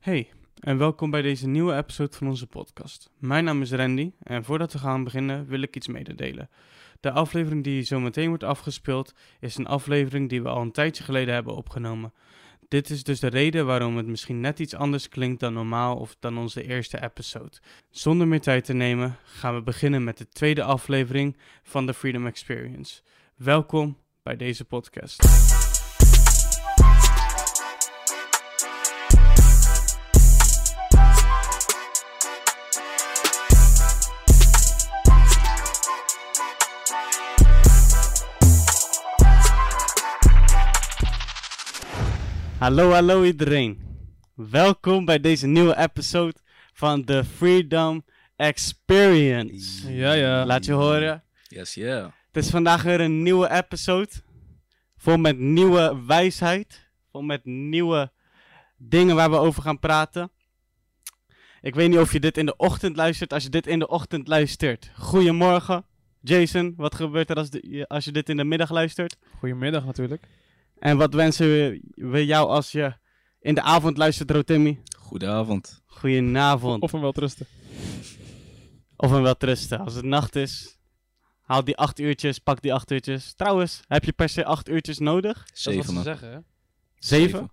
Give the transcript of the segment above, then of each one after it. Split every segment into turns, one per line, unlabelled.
Hey, en welkom bij deze nieuwe episode van onze podcast. Mijn naam is Randy en voordat we gaan beginnen wil ik iets mededelen. De aflevering die zometeen wordt afgespeeld is een aflevering die we al een tijdje geleden hebben opgenomen. Dit is dus de reden waarom het misschien net iets anders klinkt dan normaal of dan onze eerste episode. Zonder meer tijd te nemen gaan we beginnen met de tweede aflevering van de Freedom Experience. Welkom bij deze podcast. Hallo, hallo iedereen. Welkom bij deze nieuwe episode van de Freedom Experience.
Ja, ja.
Laat je horen.
Yes, yeah.
Het is vandaag weer een nieuwe episode. Vol met nieuwe wijsheid. Vol met nieuwe dingen waar we over gaan praten. Ik weet niet of je dit in de ochtend luistert. Als je dit in de ochtend luistert, goedemorgen. Jason, wat gebeurt er als, de- je- als je dit in de middag luistert?
Goedemiddag natuurlijk.
En wat wensen we, we jou als je in de avond luistert, Rotimmy?
Goedenavond.
Goedenavond.
Of hem wel trusten.
Of een welterusten. Als het nacht is, haal die acht uurtjes, pak die acht uurtjes. Trouwens, heb je per se acht uurtjes nodig?
Dat is wat
Zevenen.
ze zeggen, hè?
Zeven?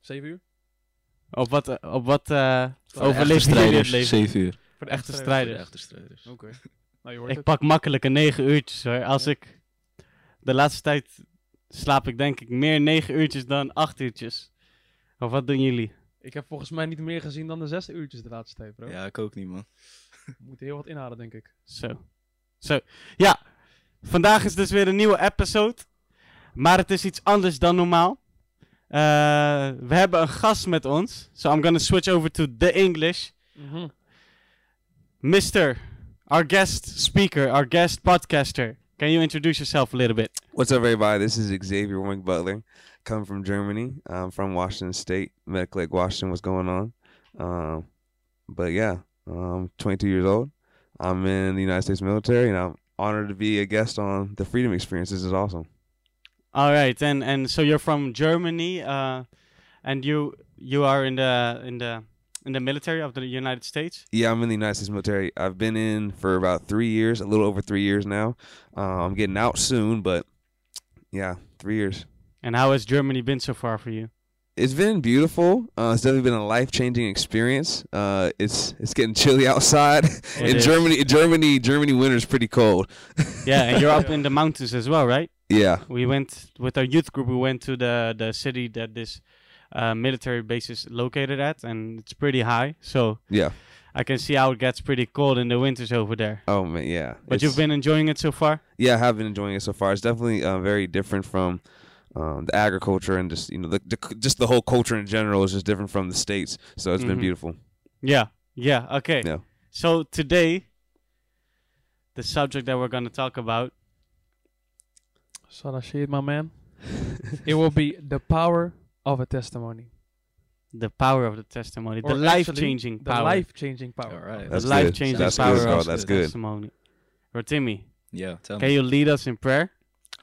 Zeven uur?
Op wat, eh, op wat eh
Voor de
overleef je jullie het
Strijders,
leven?
zeven uur.
Voor
de echte
Voor de
strijders.
echte strijders.
Oké. Nou, je hoort
Ik
het.
pak makkelijk een negen uurtjes hoor. Als
Ja.
ik... De laatste tijd slaap ik denk ik meer negen uurtjes dan acht uurtjes. Of wat doen jullie?
Ik heb volgens mij niet meer gezien dan de zes uurtjes de laatste tijd, bro.
Ja, ik ook niet, man.
We moeten heel wat inhalen, denk ik.
Zo. Zo. Ja. Vandaag is dus weer een nieuwe episode. Maar het is iets anders dan normaal. Eh, we hebben een gast met ons. So I'm gonna switch over to the English.
Mhm. Oh,
Mr. Our guest speaker, our guest podcaster. Can you introduce yourself a little bit?
What's up, everybody? This is Xavier Wing Butler, coming from Germany. I'm from Washington State, Medical Lake, Washington. What's going on? Um, but yeah, I'm 22 years old. I'm in the United States military, and I'm honored to be a guest on the Freedom Experience. This is awesome.
All right, and and so you're from Germany, uh, and you you are in the in the in the military of the United States.
Yeah, I'm in the United States military. I've been in for about three years, a little over three years now. Uh, I'm getting out soon, but yeah, three years.
And how has Germany been so far for you?
it's been beautiful. Uh, it's definitely been a life changing experience. Uh, it's it's getting chilly outside. in
is.
Germany, in Germany, Germany winter is pretty cold.
Yeah, and you're up in the mountains as well, right?
Yeah,
We went with our youth group. We went to the the city that this uh, military base is located at, and it's pretty high. So
yeah.
I can see how it gets pretty cold in the winters over there.
Oh man, yeah.
But
It's-
you've been enjoying it so far.
yeah, I have been enjoying it so far. It's definitely uh, very different from um, the agriculture and just you know the, the just the whole culture in general is just different from the states. So it's been
Mhm.
beautiful.
Yeah. Yeah. Okay.
Yeah.
So today, the subject that we're going to talk about.
Sarah shit, my man. It will be the power of a testimony.
The power of the testimony, the
Or
life
actually,
changing
The
power,
life-changing power.
Alright.
the
That's
life
good.
changing
That's
power
good, bro.
of
That's
the
good. Um,
testimony. Rotimi,
Yeah, tell
can
me.
you lead us in prayer?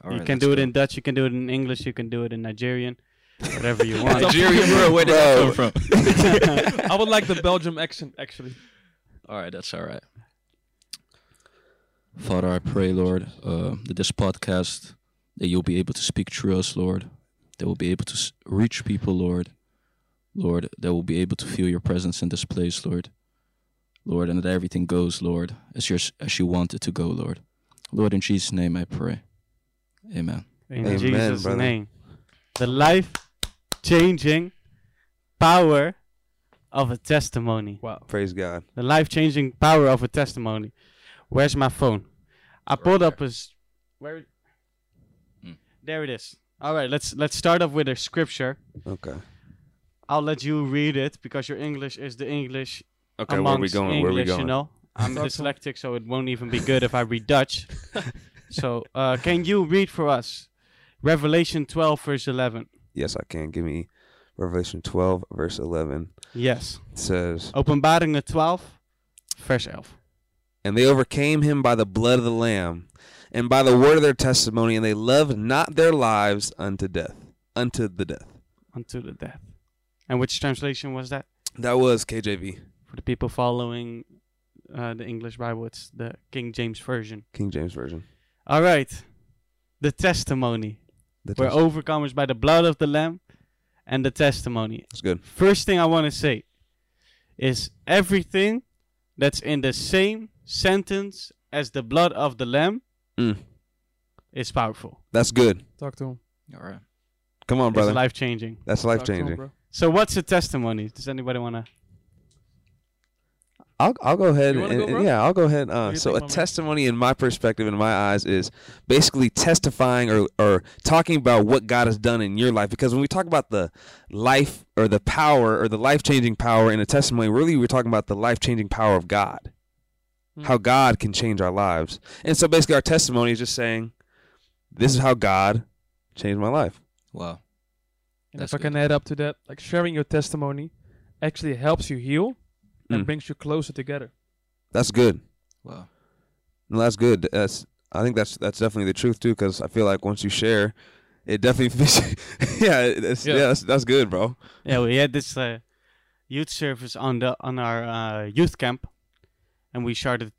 Alright,
you can
let's
do it
go.
in Dutch, you can do it in English, you can do it in Nigerian, whatever you want.
Nigeria, bro. Where did that come from?
I would like the Belgium accent, actually.
Alright, that's alright. Father, I pray, Lord, uh, that this podcast, that you'll be able to speak through us, Lord. That we'll be able to s- reach people, Lord. Lord, that we'll be able to feel your presence in this place, Lord. Lord, and that everything goes, Lord, as, your, as you want it to go, Lord. Lord, in Jesus' name I pray. Amen.
in
Amen,
Jesus'
brother.
name. The life changing power of a testimony.
Wow.
Praise God.
The life changing power of a testimony. Where's my phone? I pulled up a s- where
Hmm.
there it is. All right, let's let's start off with a scripture.
Okay.
I'll let you read it because your English is the English
Okay, where we
amongst
going?
English,
where we going?
you know. I'm
Start from-
dyslexic, so it won't even be good if I read Dutch. so, uh, can you read for us Revelation 12, verse 11?
Yes, I can. Give me Revelation 12 verse 11.
Yes.
It says.
Openbaringen 12, vers 11.
And they overcame him by the blood of the Lamb, and by the word of their testimony, and they loved not their lives unto death, unto the death.
Unto the death. And which translation was that?
That was KJV,
For the people following uh, the English Bible, it's the King James Version.
King James Version.
All right. The testimony.
The
We're
test-
overcomers by the blood of the Lamb and the testimony.
It's good.
First thing I want to say is everything that's in the same sentence as the blood of the Lamb
Mm.
is powerful.
That's good.
Talk to him.
All right.
Come on, brother.
It's life changing.
That's
Talk
life
to him,
changing.
bro.
So, what's a testimony? Does anybody want to?
I'll I'll go ahead
You
and,
wanna go,
and-
bro?
yeah, I'll go ahead.
do
Uh,
you
so
think,
a
my man?
testimony in my perspective, in my eyes, is basically testifying or or talking about what God has done in your life. Because when we talk about the life or the power or the life changing power in a testimony, really we're talking about the life changing power of God,
Hmm.
how God can change our lives. And so basically, our testimony is just saying, "This is how God changed my life."
Wow.
And
That's
if I can
good.
add up to that, like sharing your testimony actually helps you heal and
Mm.
brings you closer together.
That's good.
Wow.
No, that's good. That's I think that's that's definitely the truth too, because I feel like once you share, it definitely fits. yeah, it- it's, yeah,
Yeah.
that's, that's good, bro.
Yeah, we had this uh, youth service on the on our uh, youth camp, and we started.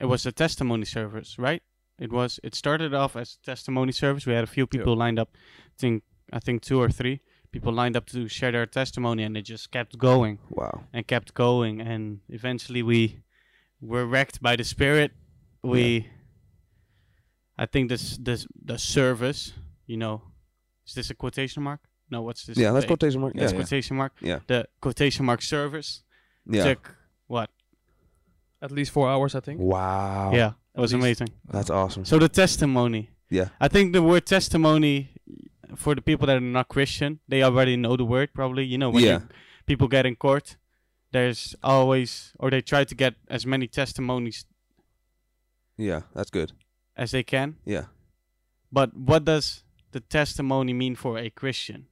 It was a testimony service, right? It was. It started off as a testimony service. We had a few people lined up. I think I think two or three people lined up to share their testimony, and it just kept going
Wow.
and kept going, and eventually we were wrecked by the spirit. We, I think this this the service. You know, is this a quotation mark? No, what's this?
Yeah, that's
Hey.
quotation mark. Yeah,
That's
yeah.
quotation mark.
Yeah.
The quotation mark service
yeah.
took what?
At least four hours, I think.
Wow.
yeah, it was
least.
amazing.
that's awesome.
So the testimony.
Yeah.
I think the word testimony for the people that are not Christian, they already know the word probably. You know when
Yeah.
you- people get in court, there's always or they try to get as many testimonies
Yeah, that's good.
as they can.
Yeah.
But what does the testimony mean for a Christian?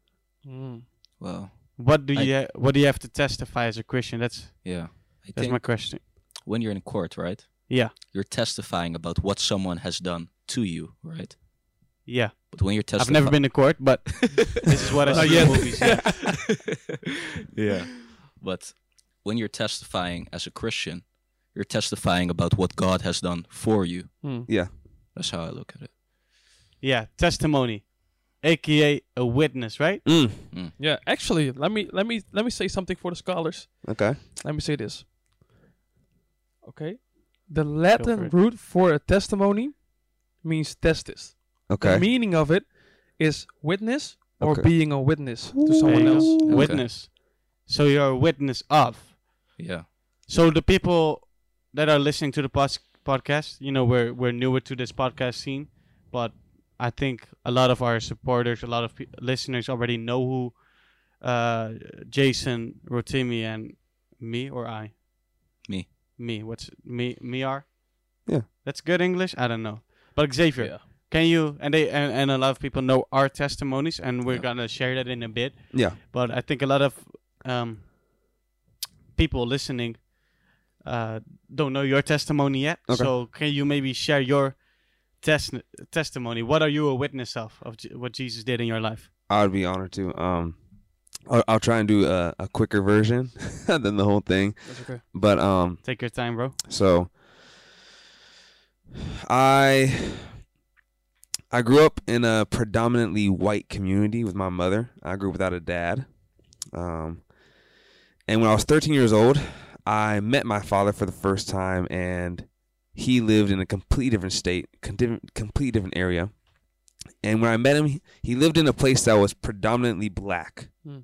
Mm.
Wow.
What do you ha- what do you have to testify as a Christian? That's
Yeah. I
that's
think
my question.
when you're in court, right?
Yeah.
You're testifying about what someone has done to you, right?
Yeah.
But when you're
I've
testifying,
never been to court, but this is what I
Not
see in
yet.
movies.
yeah. But when you're testifying as a Christian, you're testifying about what God has done for you.
Mm.
That's how I look at it.
Yeah, testimony, aka a witness, right?
Mm.
Yeah, actually, let me let me let me say something for the scholars.
Okay.
Let me say this. Okay, the
for
Latin
it.
root for a testimony means testis.
Okay.
The meaning of it is witness or
Okay.
being a witness to
Ooh.
There
someone
you
else.
go.
Okay.
Witness. So you're a witness of.
Yeah.
So the people that are listening to the pos- podcast, you know, we're we're newer to this podcast scene, but I think a lot of our supporters, a lot of pe- listeners already know who uh, Jason Rotimi and me or I.
Me.
Me. What's me? Me are.
Yeah.
That's good English. I don't know. But Xavier,
Yeah.
Can you and they and, and a lot of people know our testimonies and we're
Yeah.
gonna share that in a bit.
Yeah.
But I think a lot of um, people listening uh, don't know your testimony yet.
Okay.
So can you maybe share your test testimony? What are you a witness of of Je- what Jesus did in your life?
I would be honored to. Um, I'll, I'll try and do a, a quicker version than the whole thing,
That's okay.
but um,
Take your time, bro.
So I I grew up in a predominantly white community with my mother. I grew up without a dad. Um, and when I was 13 years old, I met my father for the first time and he lived in a completely different state, con- different- completely different area. And when I met him, he- he lived in a place that was predominantly black.
Hmm.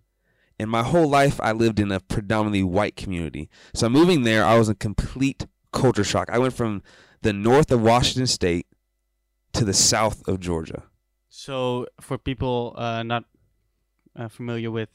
And my whole life, I lived in a predominantly white community. So moving there, I was in complete culture shock. I went from the north of Washington State to the south of Georgia.
So for people uh, not uh, familiar with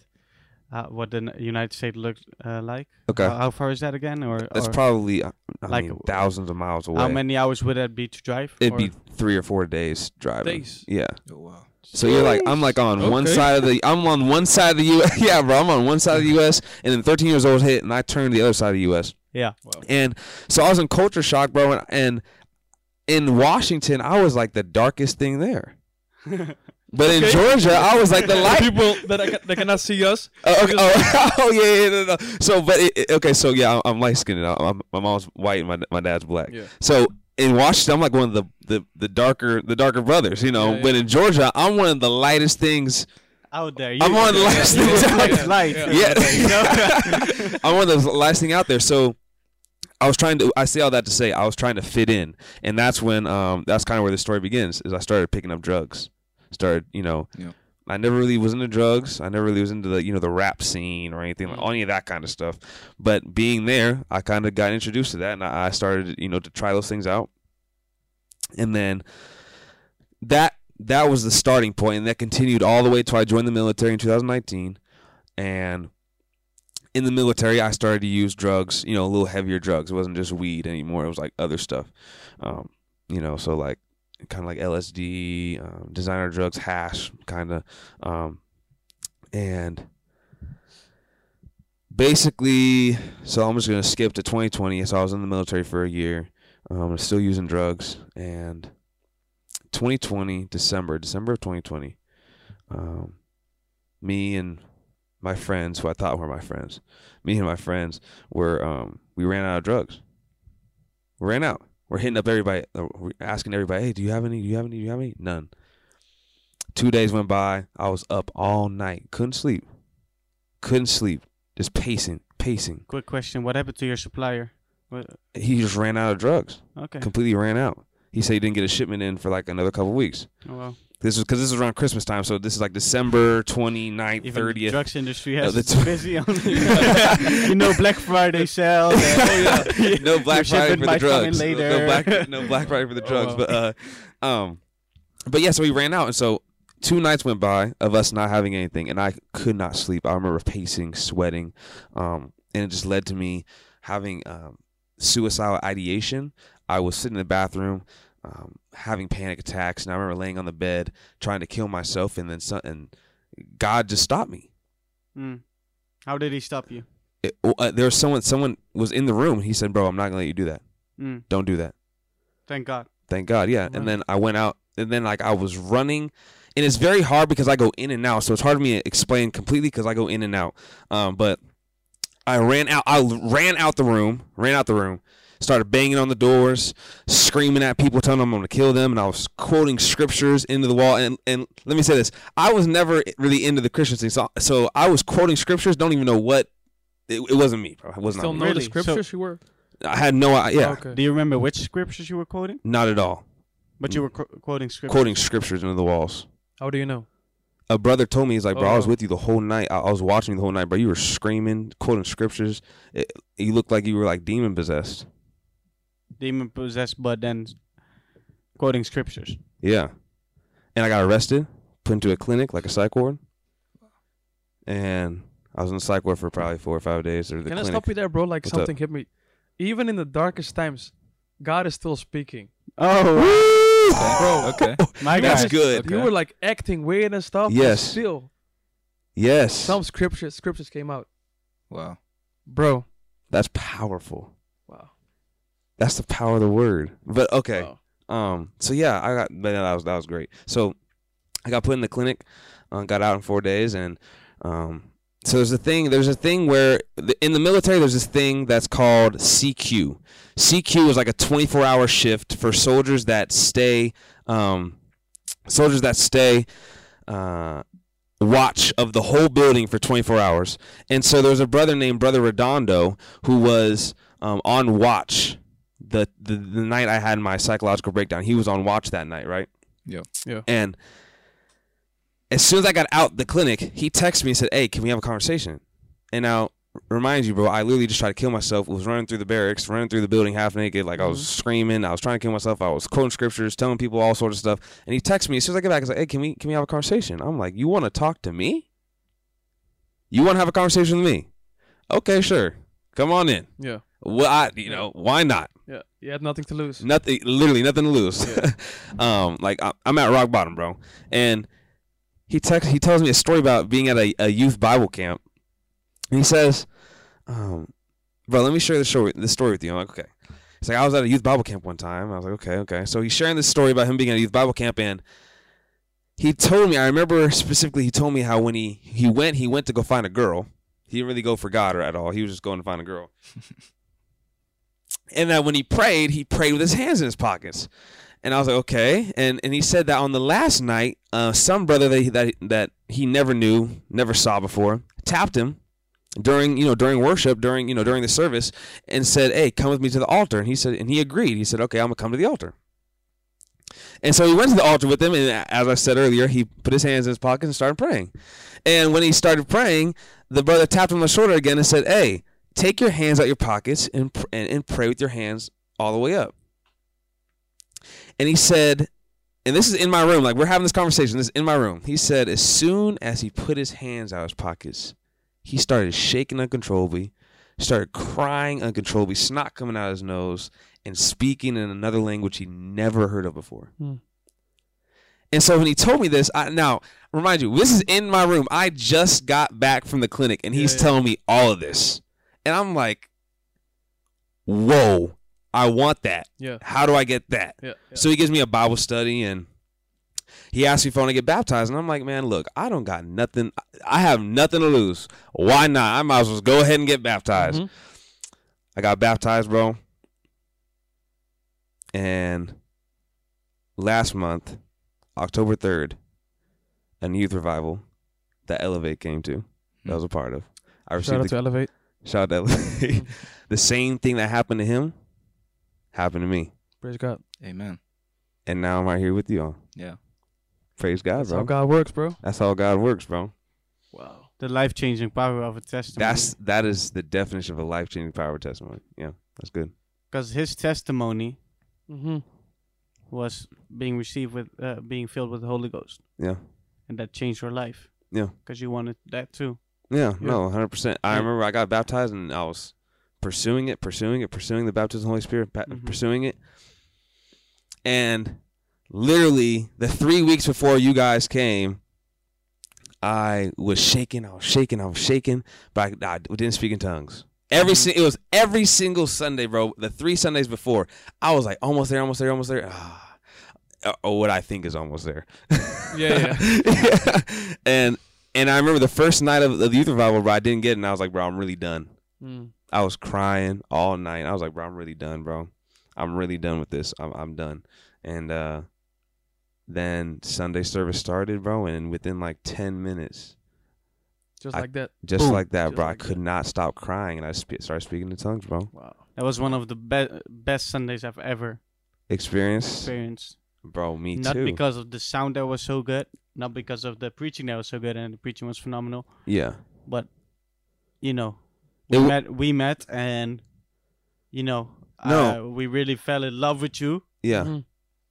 uh, what the N- United States looks uh, like,
Okay,
how, how far is that again? Or,
that's
or
probably uh, I
like,
mean, thousands of miles away.
how many hours would that be to drive?
It'd
Or-
be three or four days driving.
Days.
Yeah.
Oh, wow.
So you're like I'm like on one
Okay.
side of the I'm on one side of the U.S. yeah, bro. I'm on one side of the U.S. and then 13 years old hit, and I turned to the other side of the U.S.
yeah.
And so I was in culture shock, bro. And, and in Washington, I was like the darkest thing there. But in
Okay.
Georgia, I was like the light.
people that, I, that cannot see us.
Oh, okay. oh, oh, yeah, yeah, no, no. So, but it, it- okay, so yeah, I'm, I'm light skinned. I'm, my mom's white and my my dad's black.
Yeah.
So in Washington, I'm like one of the the, the darker the darker brothers, you know.
Yeah, yeah.
But in Georgia, I'm one of the lightest things.
out there.
I'm one of the lightest
you-
things out
it's
there.
light.
Yeah, I'm one of the lightest thing out there. So. I was trying to. I say all that to say I was trying to fit in, and that's when um that's kind of where the story begins. Is I started picking up drugs, started you know,
Yeah.
I never really was into drugs. I never really was into the you know the rap scene or anything like any of that kind of stuff. But being there, I kind of got introduced to that, and I I started you know to try those things out, and then that that was the starting point, and that continued all the way till I joined the military in 2019, and in the military, I started to use drugs, you know, a little heavier drugs. It wasn't just weed anymore. It was like other stuff, um, you know. So like kind of like LSD, um, designer drugs, hash, kind of, um, and basically. So I'm just gonna skip to 2020. So I was in the military for a year. Um, I'm still using drugs, and 2020 December, December of 2020, um, me and my friends, who I thought were my friends, me and my friends were, um, we ran out of drugs. We ran out. We're hitting up everybody, uh, we're asking everybody, hey, do you have any? Do you have any? Do you have any? None. Two days went by. I was up all night. Couldn't sleep. Couldn't sleep. Just pacing, pacing.
Quick question: What happened to your supplier? What,
He just ran out of drugs.
okay.
Completely ran out. He said he didn't get a shipment in for like another couple weeks.
Oh, well.
This was because this was around Christmas time, so this is like December 29th,
Even
30th.
the drugs industry
No,
has
that's-
it's busy on you know Black Friday sales.
Oh, yeah. no Black
Your
Friday
shipment
for the
might come in
drugs. No- No
later.
Black, no Black Friday for the
Oh,
drugs.
wow.
But uh, um, but yeah, so we ran out, and so two nights went by of us not having anything, and I could not sleep. I remember pacing, sweating, um, and it just led to me having um, suicidal ideation. I was sitting in the bathroom. Um, having panic attacks, and I remember laying on the bed trying to kill myself, and then some, and God just stopped me.
Mm. How did he stop you?
It, uh, there was someone, someone was in the room. And he said, "Bro, I'm not gonna let you do that.
Mm.
Don't do that."
Thank God.
Thank God, yeah.
Wow.
And then I went out, and then like I was running, and it's very hard because I go in and out, so it's hard for me to explain completely because I go in and out. Um, but I ran out. I l- ran out the room. Ran out the room. Started banging on the doors, screaming at people, telling them I'm going to kill them, and I was quoting scriptures into the wall. And and let me say this: I was never really into the Christian thing, so so I was quoting scriptures. Don't even know what. It, it wasn't me, bro. It was
Still
not.
know
Me.
Really?
the
So-
scriptures you were.
I had no. i- Yeah,
Okay.
Do you remember which scriptures you were quoting?
not at all.
But you
Hmm.
were qu- quoting scriptures.
Quoting scriptures into the walls.
How do you know?
a brother told me he's like, bro, I was
Oh.
with you the whole night. I, I was watching you the whole night, bro. You were screaming, quoting scriptures. It, you looked like you were like demon possessed.
demon possessed, but then quoting scriptures.
Yeah, and I got arrested, put into a clinic like a psych ward, and I was in the psych ward for probably four or five days. Or the
Can I
clinic.
stop you there, bro? Like
What's up?
something hit me. Even in the darkest times, God is still speaking.
Oh,
Bro. Okay.
my
That's
God.
good.
You
Okay.
were like acting weird and stuff. but
Yes.
Still,
Yes,
some scriptures scriptures came out,
Wow.
bro.
that's powerful.
Wow.
That's the power of the word. But okay.
Wow.
Um. So yeah, I got but that was that was great. So I got put in the clinic, uh, got out in four days, and um. So there's a thing. There's a thing where the, in the military, there's this thing that's called CQ. CQ is like a 24-hour shift for soldiers that stay, um, soldiers that stay, uh, watch of the whole building for 24 hours. And so there's a brother named Brother Redondo who was um, on watch the, the the night I had my psychological breakdown, he was on watch that night, right?
Yeah.
Yeah.
And as soon as I got out the clinic, he texted me and said, "Hey, can we have a conversation?" And now, remind you, bro, I literally just tried to kill myself. Was running through the barracks, running through the building half naked, like I was
Mm-hmm.
screaming. I was trying to kill myself. I was quoting scriptures, telling people all sorts of stuff. And he texted me as soon as I get back. He's like, "Hey, can we can we have a conversation?" I'm like, "You want to talk to me? You want to have a conversation with me? Okay, sure. Come on in.
Yeah.
Well, I, you know, why not?"
Yeah. You had nothing to lose.
Nothing, literally nothing to lose.
Yeah.
um, like I, I'm at rock bottom, bro. And he text, he tells me a story about being at a, a youth Bible camp. And he says, um, "Bro, let me share this story, this story with you." I'm like, "Okay." He's like, "I was at a youth Bible camp one time." I was like, "Okay, okay." So he's sharing this story about him being at a youth Bible camp, and he told me. I remember specifically. He told me how when he he went, he went to go find a girl. He didn't really go for God at all. He was just going to find a girl. and that when he prayed, he prayed with his hands in his pockets. And I was like, okay. And and he said that on the last night, uh, some brother that he, that that he never knew, never saw before, tapped him during you know during worship, during you know during the service, and said, hey, come with me to the altar. And he said, and he agreed. He said, okay, I'm gonna come to the altar. And so he went to the altar with them, and as I said earlier, he put his hands in his pockets and started praying. And when he started praying, the brother tapped him on the shoulder again and said, "Hey, take your hands out your pockets and pr- and, and pray with your hands all the way up." And he said, and this is in my room, like we're having this conversation. This is in my room. He said, as soon as he put his hands out his pockets, he started shaking uncontrollably, started crying uncontrollably, snot coming out of his nose, and speaking in another language he never heard of before.
Hmm.
And so when he told me this, I, now remind you, this is in my room. I just got back from the clinic, and he's
Yeah, yeah.
telling me all of this, and I'm like, "Whoa, I want that.
Yeah.
How do I get that?"
Yeah. yeah.
Mm-hmm. So he gives me a Bible study and he asked me if I want to get baptized. And I'm like, man, look, I don't got nothing. I have nothing to lose. Why not? I might as well go ahead and get baptized.
Mhm.
I got baptized, bro. And last month, October 3rd, a youth revival that Elevate came to, that I was a part of. I
Shout
received
out to Elevate.
the, shout out to Elevate. the same thing that happened to him happened to me.
Praise God.
Amen.
And now I'm right here with you all.
Yeah.
Praise God,
That's how
bro.
God works, bro.
That's how God works, bro.
Wow.
the life changing power of a testimony.
That's that is the definition of a life changing power testimony. Yeah, that's good.
because his testimony
Mm-hmm.
was being received with uh, being filled with the Holy Ghost,
Yeah,
and that changed your life.
Yeah.
because you wanted that too.
yeah,
Yeah.
no, hundred percent. I
Yeah.
remember I got baptized and I was pursuing it, pursuing it, pursuing the baptism of the Holy Spirit, pa-
Mhm.
pursuing it, and literally the three weeks before you guys came. I was shaking. I was shaking. I was shaking, but I, I didn't speak in tongues. Every si- it was every single Sunday, bro. The three Sundays before, I was like almost there, almost there, almost there. Ah, or what I think is almost there.
Yeah,
yeah. and and I remember the first night of, of the youth revival, bro. I didn't get it, and I was like, bro, I'm really done.
Mm.
I was crying all night. I was like, bro, I'm really done, bro. I'm really done with this. I'm I'm done. And uh, then Sunday service started, bro, and within like ten minutes,
Just
I-
like that.
just
Boom.
like that,
Just
bro,
like
I could not stop crying, and I sp- started speaking in tongues, bro.
Wow.
That was one of the be- best Sundays I've ever
Experience,
experienced.
bro. Me
not
too.
because of the sound that was so good, not because of the preaching that was so good, and the preaching was phenomenal.
yeah,
But you know,
It
we
w-
met, we met, and you know,
No.
uh, we really fell in love with you.
yeah.
Mhm.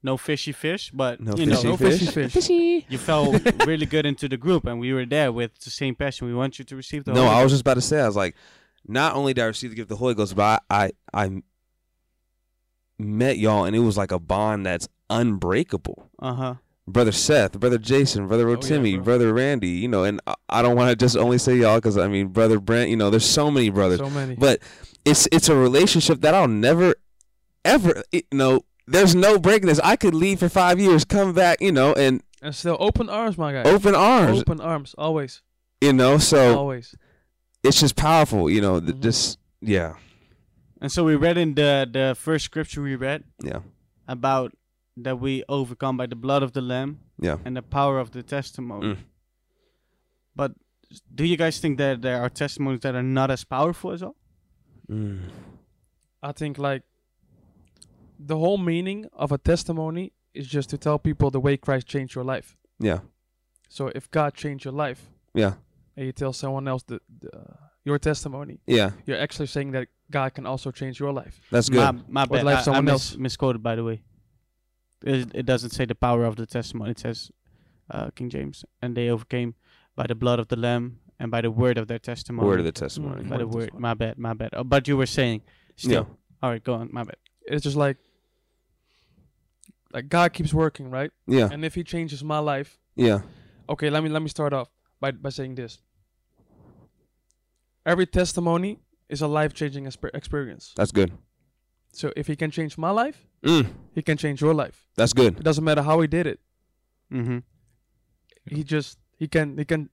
No fishy fish, but
No
you know,
fishy
No fishy
fish?
fish.
you fell really good into the group, and we were there with the same passion. We want you to receive the
No,
Holy
I
Ghost.
was just about to say, I was like, not only did I receive the gift of the Holy Ghost, but I, I, I met y'all, and it was like a bond that's unbreakable.
Uh huh.
Brother Seth, brother Jason, brother
Oh, yeah,
Rotimi,
bro.
brother Randy, you know, and I, I don't want to just only say y'all because I mean, brother Brent, you know, there's so many brothers,
So many.
but it's it's a relationship that I'll never, ever, you know, there's no breaking this. I could leave for five years, come back, you know, and
and still open arms, my guy.
open arms,
Open arms. Always.
you know. So
Always.
it's just powerful, you know. th-
Mhm.
Just yeah,
And so we read in the the first scripture we read
yeah,
about that we overcome by the blood of the lamb
yeah.
and the power of the testimony.
Mm.
But do you guys think that there are testimonies that are not as powerful as all?
Mm.
I think like the whole meaning of a testimony is just to tell people the way Christ changed your life.
Yeah,
So if God changed your life
yeah,
and you tell someone else the, the uh, your testimony,
yeah.
you're actually saying that God can also change your life.
That's good.
My, my bad.
like
I- I,
someone
mis-
else.
misquoted, by the way. It, it doesn't say the power of the testimony. It says uh, King James, and they overcame by the blood of the lamb and by the word of their testimony.
Word of the testimony.
by the
Word of
word.
the-
My bad. My bad. Oh, but you were saying. Mm-hmm. Still.
Yeah,
All right. Go on. My bad.
It's just like like God keeps working, right?
yeah,
And if he changes my life,
yeah,
okay, let me let me start off by by saying this. Every testimony is a life-changing exper- experience.
that's good.
So if he can change my life,
Mm,
he can change your life.
that's
It
good.
doesn't matter how he did it.
Mm-hmm.
he just he can he can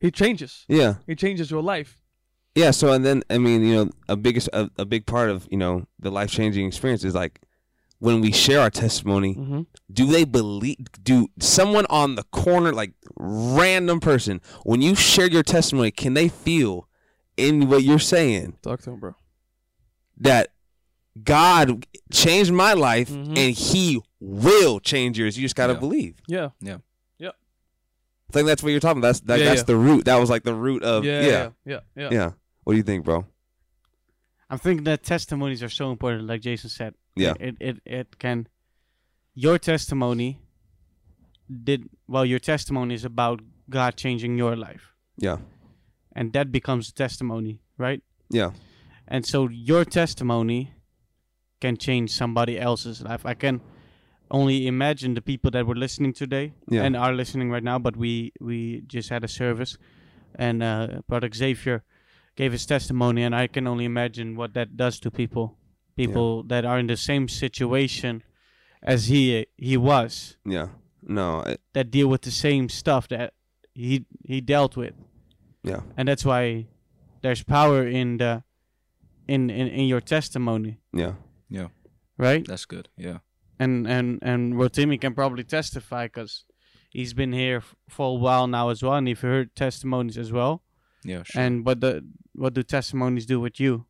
he changes.
Yeah.
He changes your life.
Yeah. So and then I mean, you know, a biggest a, a big part of you know the life changing experience is like when we share our testimony.
Mm-hmm.
Do they believe? Do someone on the corner, like random person, when you share your testimony, can they feel in what you're saying
Talk to him, bro.
that God changed my life
Mhm.
and He will change yours? You just gotta
Yeah.
believe.
Yeah.
I think that's what you're talking. About. That's that,
Yeah,
that's
yeah.
the root. That was like the root of
yeah, yeah, yeah, yeah.
yeah. yeah. What do you think, bro?
I'm thinking that testimonies are so important, like Jason said.
Yeah.
It it, it can your testimony did well your testimony is about God changing your life.
Yeah.
And that becomes a testimony, right?
Yeah.
And so your testimony can change somebody else's life. I can only imagine the people that were listening today
Yeah.
and are listening right now, but we we just had a service and uh product Xavier gave his testimony and I can only imagine what that does to people. People that are in the same situation as he he was
Yeah. No. I,
that deal with the same stuff that he he dealt with.
Yeah.
And that's why there's power in the in in, in your testimony,
yeah.
right?
That's good. Yeah.
And and and Rotimi can probably testify because he's been here f- for a while now as well, and he's heard testimonies as well.
Yeah. Sure.
And what the what do testimonies do with you?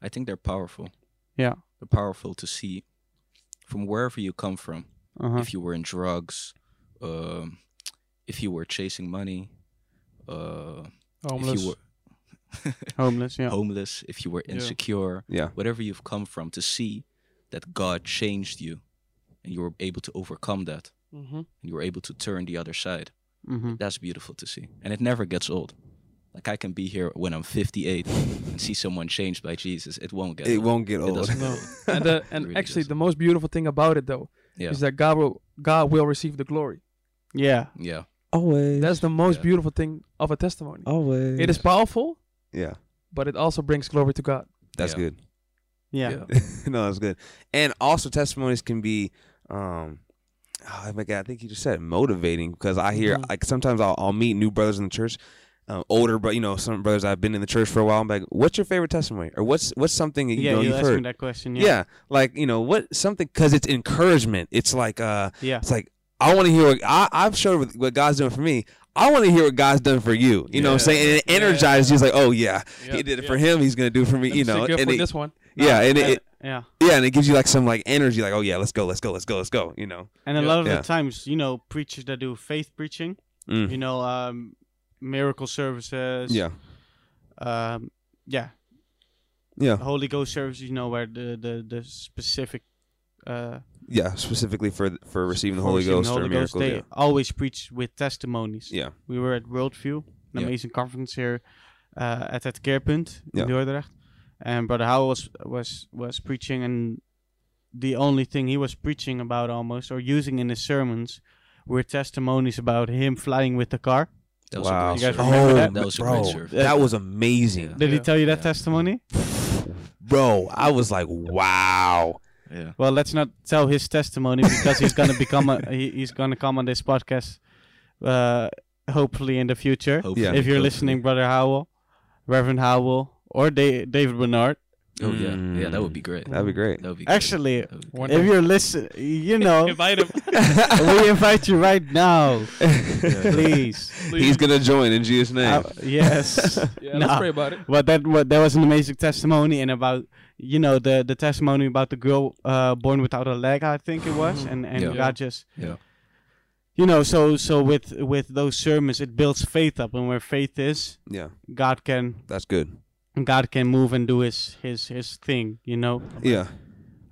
I think they're powerful.
Yeah.
They're powerful to see from wherever you come from.
Uh-huh.
If you were in drugs, um, if you were chasing money, uh, if
Homeless.
you were
Homeless, yeah.
homeless, if you were
Yeah.
insecure,
Yeah.
whatever you've come from, to see that God changed you and you were able to overcome that
mm-hmm.
and you were able to turn the other side.
Mm-hmm.
That's beautiful to see. And it never gets old. Like I can be here when I'm 58 and see someone changed by Jesus. It won't get
It
old.
won't get
It
old.
doesn't
No.
get old.
And the, and
really
actually,
does.
the most beautiful thing about it though
Yeah.
is that God will God will receive the glory.
Yeah.
Yeah.
Always.
That's the most
Yeah.
beautiful thing of a testimony.
always.
It is powerful,
Yeah.
but it also brings glory to God.
That's
Yeah.
good.
Yeah.
Yeah.
no, that's good. And also testimonies can be um oh my god, I think you just said it, motivating because I hear
Mhm.
like sometimes I'll, I'll meet new brothers in the church. Um, older, but you know, some brothers I've been in the church for a while. I'm like, "What's your favorite testimony, or what's what's something that you
Yeah,
know
you
you've
asked me
heard?"
that question.
Yeah. like you know, what something because it's encouragement. It's like, uh,
Yeah.
it's like I want to hear what I, I've showed what- what God's done for me. I want to hear what God's done for you. You know what I'm
Yeah.
saying? And it
Yeah.
energizes you. It's like, oh yeah,
Yeah,
he did it
yeah.
for him. He's gonna do it for me. you
That's
know,
good
and
for
it,
this one.
yeah, and it,
And-
it-
yeah.
yeah, and it gives you like some like energy. Like, oh yeah, let's go, let's go, let's go, let's go. You know.
And a
Yeah.
lot of
Yeah. Mm-hmm.
the times, you know, preachers that do faith preaching, you know, um, miracle services,
Mm. Yeah,
um, yeah,
yeah,
Holy Ghost services, you know, where the the the specific uh,
yeah. Specifically for for receiving the
for
Holy
receiving
Ghost or miracles.
they
Yeah.
always preach with testimonies.
yeah,
We were at Worldview, an
Yeah.
amazing conference here uh, at het Keerpunt
Yeah.
in Dordrecht, and Brother Howell was was was preaching, and the only thing he was preaching about almost or using in his sermons were testimonies about him flying with the car.
That was a
Wow. Oh,
You
great
guys
serve.
remember that?
That was a
Bro.
great serve.
Uh,
that was amazing,
Did he
Yeah.
tell you that
Yeah.
testimony?
bro. I was like, wow.
Yeah.
Well, let's not tell his testimony because he's gonna become a he, he's gonna come on this podcast, uh, hopefully in the future.
Hopefully.
Yeah.
If you're
Hopefully.
listening, Brother Howell, Reverend Howell, or da- David Bernard.
Oh yeah. Yeah, that would be great.
That'd be great.
That would be great.
Actually,
That would be
One-
if you're listening, you know,
Invite him.
we invite you right now, please.
He's gonna join in Jesus' name.
Uh, yes.
Yeah,
Nah.
let's pray about it.
But that what that was an amazing testimony, and about you know the the testimony about the girl uh, born without a leg, I think it was, and and
Yeah.
God just
Yeah.
you know so so with with those sermons it builds faith up, and where faith is,
yeah,
God can
that's good.
God can move and do his his his thing, you know.
Yeah,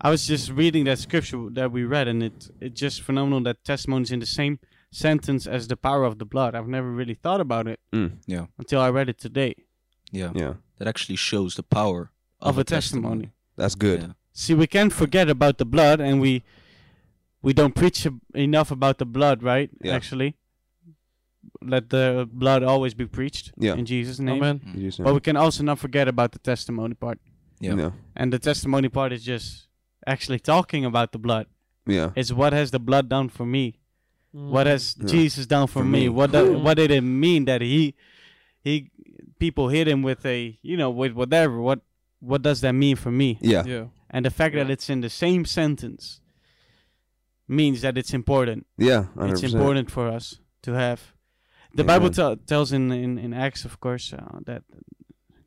I was just reading that scripture that we read, and it it's just phenomenal that testimonies in the same sentence as the power of the blood. I've never really thought about it
Mm.
Yeah.
until I read it today.
yeah.
yeah,
That actually shows the power
Of a testimony.
that's good.
See, we can forget about the blood, and we we don't preach ab- enough about the blood, right?
Yeah.
Actually, let the blood always be preached
Yeah.
in Jesus' name.
Amen.
In Jesus'
But
name.
we can also not forget about the testimony part,
Yeah.
Oh, yeah,
and the testimony part is just actually talking about the blood.
yeah,
It's what has the blood done for me? Whereas
Mm-hmm. Yeah.
Jesus down for,
For
me,
me.
what do- what did it mean that he he people hit him with a you know with whatever what what does that mean for me?
Yeah.
yeah.
And the fact that it's in the same sentence means that it's important.
Yeah. 100%.
It's important for us to have. The
Amen.
Bible tell tells in, in in Acts, of course, uh, that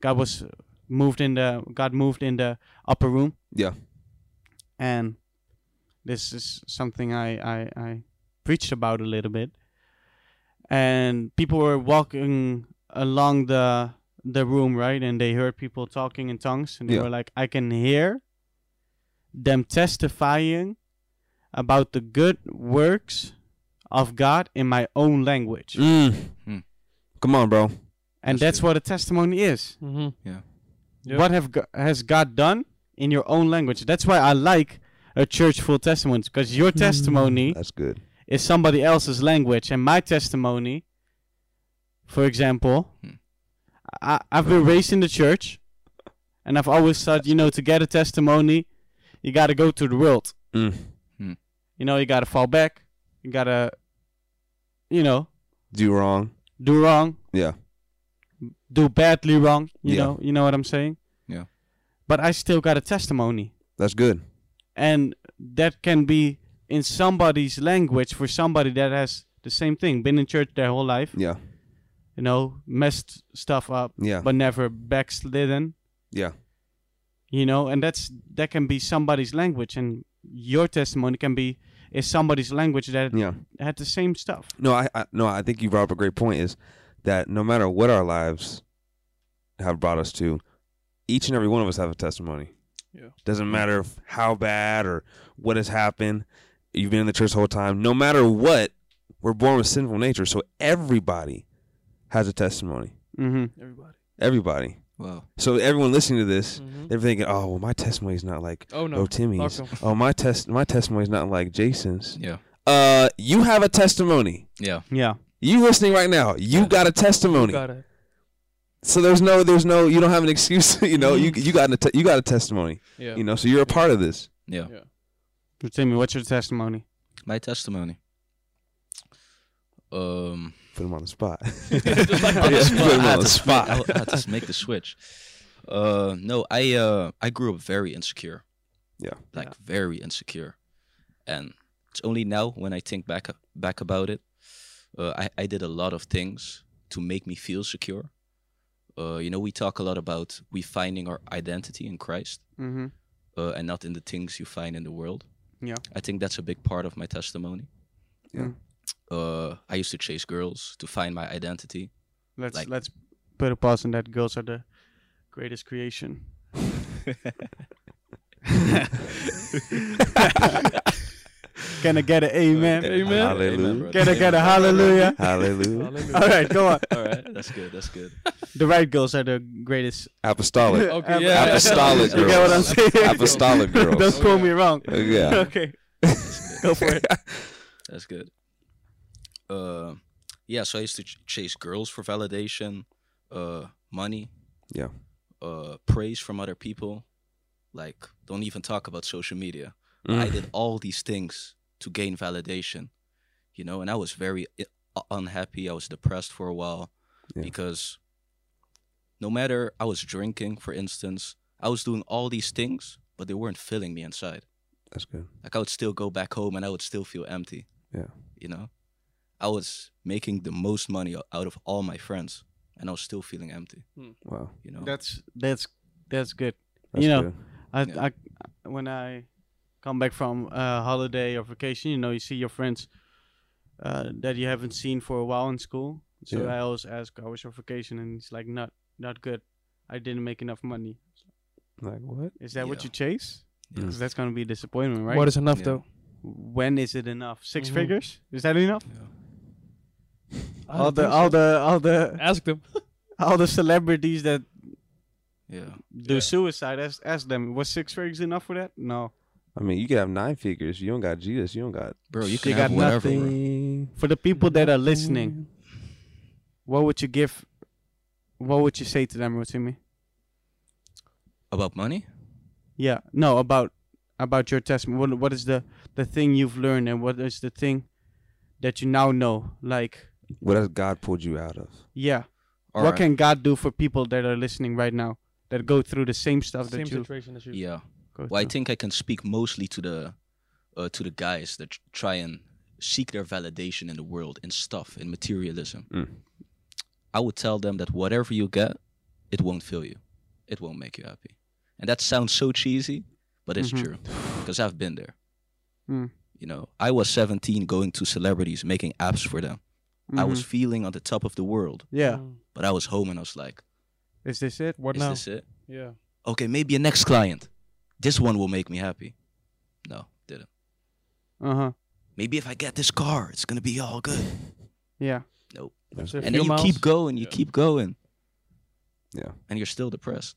God was moved in the God moved in the upper room.
Yeah.
And this is something I I, I preached about a little bit. And people were walking along the the room, right? And they heard people talking in tongues, and they
Yeah.
were like, "I can hear them testifying about the good works of God in my own language."
Mm.
Hmm.
Come on, bro.
And
That's
that's
good.
what a testimony is.
Mm-hmm. Yep.
What have go- has God done in your own language? That's why I like a church full testimonies because your testimony
That's good.
is somebody else's language, and my testimony, for example,
Hmm.
I, I've been raised in the church, and I've always thought, you know, to get a testimony, you got to go to the world.
Mm.
You know, you got to fall back. You got to, you know,
Do wrong.
do wrong.
Yeah.
Do badly wrong. You
Yeah.
know, you know what I'm saying.
Yeah.
But I still got a testimony,
That's good.
and that can be in somebody's language for somebody that has the same thing, been in church their whole life,
Yeah.
you know, messed stuff up,
Yeah.
but never backslidden.
Yeah.
You know, and that's that can be somebody's language, and your testimony can be is somebody's language that
yeah.
had the same stuff.
No, I, I no, I think you brought up a great point. Is that no matter what our lives have brought us to, each and every one of us have a testimony.
Yeah.
Doesn't matter if how bad or what has happened. You've been in the church the whole time. No matter what, we're born with sinful nature. So everybody has a testimony.
Mm-hmm.
Everybody.
Everybody.
Wow.
So everyone listening to this,
Mhm.
they're thinking, "Oh, well, my testimony's not like
Oh
oh
no.
Timmy's.
Fuck 'em.
Oh, my test, my testimony's not like Jason's."
Yeah.
Uh, you have a testimony.
Yeah.
Yeah.
You listening right now? You
Yeah.
got a testimony.
Got it.
So there's no, there's no, you don't have an excuse. you know, you you got a te- you got a testimony.
Yeah.
You know, so you're a part of this.
Yeah.
Timmy, what's your testimony?
My testimony. Um.
Put him on the spot.
on the
Yeah,
spot.
put him
I
on
had
the
to
spot.
swi- I had to make the switch. Uh, no, I uh, I grew up very insecure.
Yeah.
Like very insecure, and it's only now when I think back back about it, uh, I I did a lot of things to make me feel secure. Uh, you know, we talk a lot about we finding our identity in Christ
Mm-hmm.
uh, and not in the things you find in the world.
Yeah.
I think that's a big part of my testimony.
Yeah. Hmm.
Uh, I used to chase girls to find my identity.
Let's
Like-
let's put a pause on that. Girls are the greatest creation. Can I get an amen?
Okay. Amen.
Hallelujah.
Can I get a hallelujah?
Hallelujah.
Hallelujah.
All right, go on.
All right, that's good. That's good.
The right girls are the greatest.
Apostolic.
Okay,
Ap-
yeah.
Apostolic
You get what I'm saying? Oh,
Apostolic
Don't
girls.
quote me wrong.
Uh, yeah.
Okay.
That's good.
Go for it.
That's good. Uh, yeah. So I used to ch- chase girls for validation, uh, money.
Yeah.
Uh, praise from other people. Like, don't even talk about social media. I
Mm.
did all these things to gain validation, you know, and I was very i- unhappy. I was depressed for a while
Yeah.
because no matter I was drinking, for instance, I was doing all these things, but they weren't filling me inside.
That's good.
Like I would still go back home and I would still feel empty.
Yeah.
You know, I was making the most money o- out of all my friends and I was still feeling empty,
Wow.
you know.
That's that's that's good.
That's
You know,
good.
I,
Yeah.
I when I come back from uh, holiday or vacation, you know, you see your friends uh, that you haven't seen for a while in school. So
Yeah.
I always ask, "How was your vacation?" And it's like, "Not, not good. I didn't make enough money."
like what?
Is that what
Yeah.
you chase?
Yeah.
Because that's gonna be a disappointment, right?
What is enough
Yeah.
though?
when is it enough? 6
Mhm.
figures? Is that enough?
Yeah.
I
All
don't
the,
think so.
all the, all the,
ask them.
all the celebrities that
Yeah.
do suicide. Ask, ask them. Was six figures enough for that? No.
I mean, you could have nine figures. You don't got Jesus. You don't got
Bro, you
You
can
got
have whatever. bro.
nothing.
For the people that are listening, what would you give? What would you say to them, Rotimi?
About money?
Yeah, no, about about your testimony. What what is the the thing you've learned, and what is the thing that you now know? Like,
What has God pulled you out of?
yeah,
All
what
right.
can God do for people that are listening right now that go through the same stuff
Same
that you
situation as you.
yeah.
go
Well, I
through?
uh,
think I can speak mostly to the uh, to the guys that tr- try and seek their validation in the world in stuff in materialism.
Mm.
I would tell them that whatever you get, it won't fill you. It won't make you happy. And that sounds so cheesy, but it's
Mhm.
true because I've been there.
Mm.
You know, I was 17 going to celebrities making apps for them. I was
Mhm.
feeling on the top of the world,
yeah.
Mm.
but I was home and I was like,
Is this it?
What
is
now?
this it?
Yeah.
Okay, maybe a next client. This one will make me happy. No, didn't.
Uh huh.
Maybe if I get this car, it's going to be all good.
Yeah.
After
and
a few
then you
miles-
keep going, you
Yeah.
keep going.
Yeah.
And you're still depressed.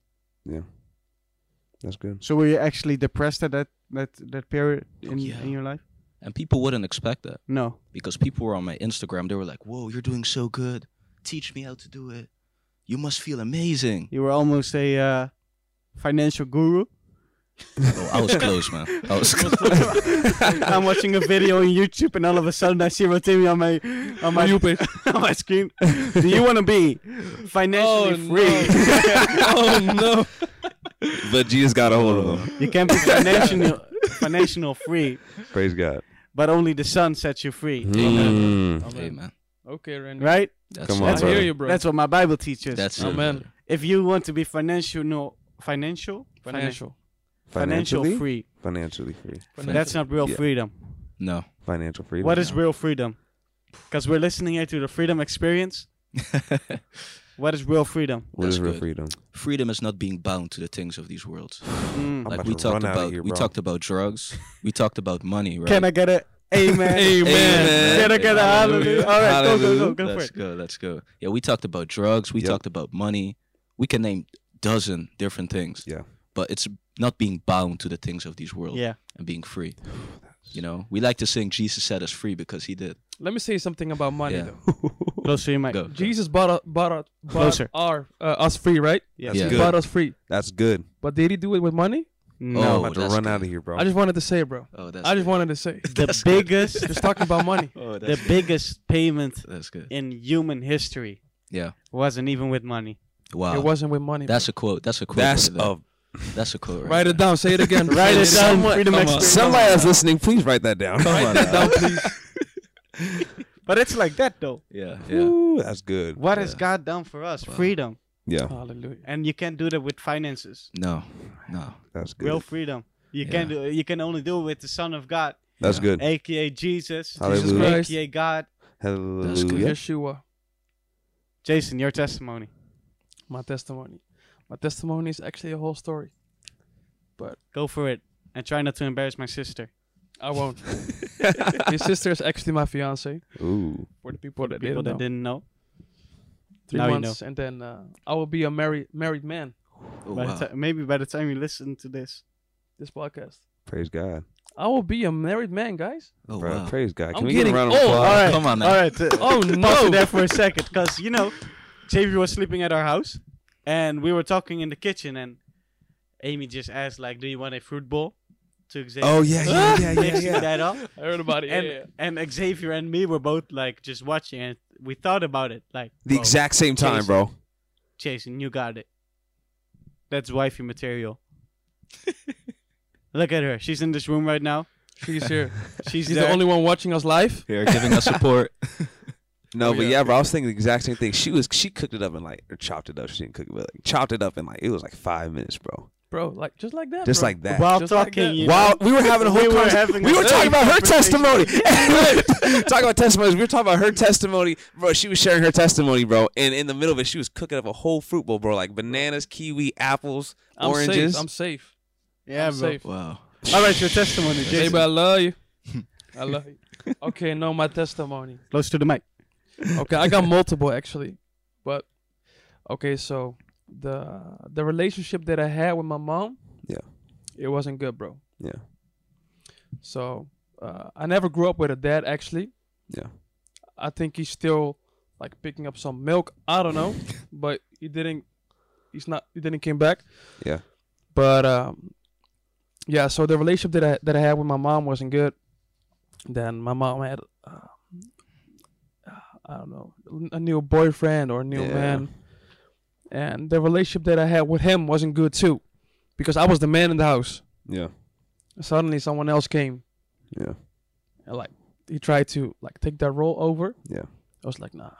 That's good.
So were you actually depressed at that that that period in
Oh, yeah.
in your life?
And people wouldn't expect that
No.
because people were on my Instagram. They were like, whoa, you're doing so good. Teach me how to do it. You must feel amazing.
You were almost a uh, financial guru.
oh, I was close, man. I was close.
I'm watching a video on YouTube, and all of a sudden I see Rotimi on my on my on my screen. Do you want to be financially
Oh,
free?
oh no.
But Jesus got a hold of him.
You can't be financial financial free,
Praise God.
but only the sun sets you free.
Mm.
Hey, man.
Okay, Randy.
Right?
That's
Come
it.
on,
I hear
brother.
you, bro.
That's what my Bible teaches.
That's it,
Amen.
brother.
if you want to be financial, no, financial,
financial.
financial
Financially,
free.
financially free.
Financial.
That's not real
Yeah.
freedom.
No.
Financial freedom.
What is real freedom? Because we're listening here to the freedom experience. What is real freedom?
What is
That's
real
good.
freedom?
Freedom is not being bound to the things of these worlds.
Mm.
I'm
like
about
we
to
talked
run outta
about,
here,
we
bro.
talked about drugs. we talked about money, right?
Can I get it? Amen.
Amen.
Can I get a hallelujah? All right, go, go, go, go for
let's
it.
go. Let's go. Yeah, we talked about drugs. We
Yep.
talked about money. We can name dozen different things.
Yeah.
But it's not being bound to the things of these world
Yeah.
and being free. You know, we like to sing Jesus set us free because he did.
Let me say something about money.
Yeah.
though.
Closer you might.
Go.
Jesus bought, us- bought, us- bought
Closer.
our, uh, us free, right?
Yeah.
Yeah.
He
Good.
bought us free.
That's good.
But did he do it with money?
I'm
No.
Oh,
about to
that's
run
good.
out of here, bro.
I just wanted to say it, bro.
Oh, that's
I just
good.
wanted to say.
the biggest,
Just talking about money.
Oh,
the
that's good.
biggest payment
That's good.
in human history
Yeah.
wasn't even with money.
Wow.
It wasn't with money.
that's a quote. That's a quote.
That's
right there.
a.
That's a quote. Right.
bro. write it down. Say it again.
Write
Say
it down.
again.
Freedom
come on.
experience.
Somebody else listening, please write that down.
Come on.
Write
now.
it down, please.
But it's like that though.
Yeah. Yeah.
Ooh, that's good.
What has
Yeah.
God done for us?
Wow.
Freedom.
Yeah,
Hallelujah.
And you can't do that with finances.
No. No.
that's good.
Real freedom. You can do. You can only do it with the Son of God,
that's
Yeah.
good.
aka Jesus,
Jesus
Hallelujah.
Christ.
aka God.
Hallelujah.
Yeshua.
Jason, your testimony.
My testimony. My testimony is actually a whole story.
Go for it, and try not to embarrass my sister.
I won't. Your sister is actually my fiance.
Ooh,
For the people that
People
didn't know.
that didn't know.
Three
Now you
months, and then uh, I will be a married married man.
Oh,
By the
wow.
ti- maybe by the time you listen to this,
This podcast.
praise God.
I will be a married man, guys.
Oh,
Bro,
wow.
Praise God. Can
I'm
we get a
getting
round of
old.
applause?
All right.
Come on now.
All right. uh,
Oh
pause it
no!
there for a second, because you know, JV was sleeping at our house, and we were talking in the kitchen, and Amy just asked, like, "Do you want a fruit bowl?" To Xavier.
Oh, yeah, yeah, yeah, yeah,
Mixing
yeah.
that up,
Everybody,
and and Xavier and me were both like just watching, and we thought about it, like
The
"Whoa,
exact same
Jason.
time, bro.
Jason, you got it. That's wifey material. Look at her. She's in this room right now.
she's here.
She's
She's
there.
the only one watching us live.
Here, giving us support.
No,
Oh,
but
yeah.
yeah, bro. I was thinking the exact same thing. She was she cooked it up in like or chopped it up. She didn't cook it, but like, chopped it up in like it was like five minutes, bro.
bro. Like just like that.
Just
bro.
like that.
while
Just like
talking.
that.
you
While
know?
we were having a whole
We were
conversa-
having
we
a
were talking about her
conversation.
testimony. talking about testimonies. We were talking about her testimony, bro. She was sharing her testimony, bro. And in the middle of it, she was cooking up a whole fruit bowl, bro, like bananas, kiwi, apples,
I'm
oranges.
safe. I'm safe.
yeah,
I'm
bro.
safe.
Wow.
All right, your testimony,
Hey,
Jason.
but I love you. I love you. Okay, no, my testimony.
Close to the mic.
Okay, I got multiple actually, but okay. So the the relationship that I had with my mom,
Yeah.
it wasn't good, bro.
Yeah.
So uh, I never grew up with a dad actually.
Yeah.
I think he's still like picking up some milk. I don't know, but he didn't. He's not. He didn't came back.
Yeah.
But um, yeah. So the relationship that I that I had with my mom wasn't good. Then my mom had uh, I don't know, a new boyfriend or a new
Yeah.
man. And the relationship that I had with him wasn't good too, because I was the man in the house.
Yeah.
Suddenly, someone else came
Yeah.
and like he tried to like take that role over.
Yeah.
I was like, nah,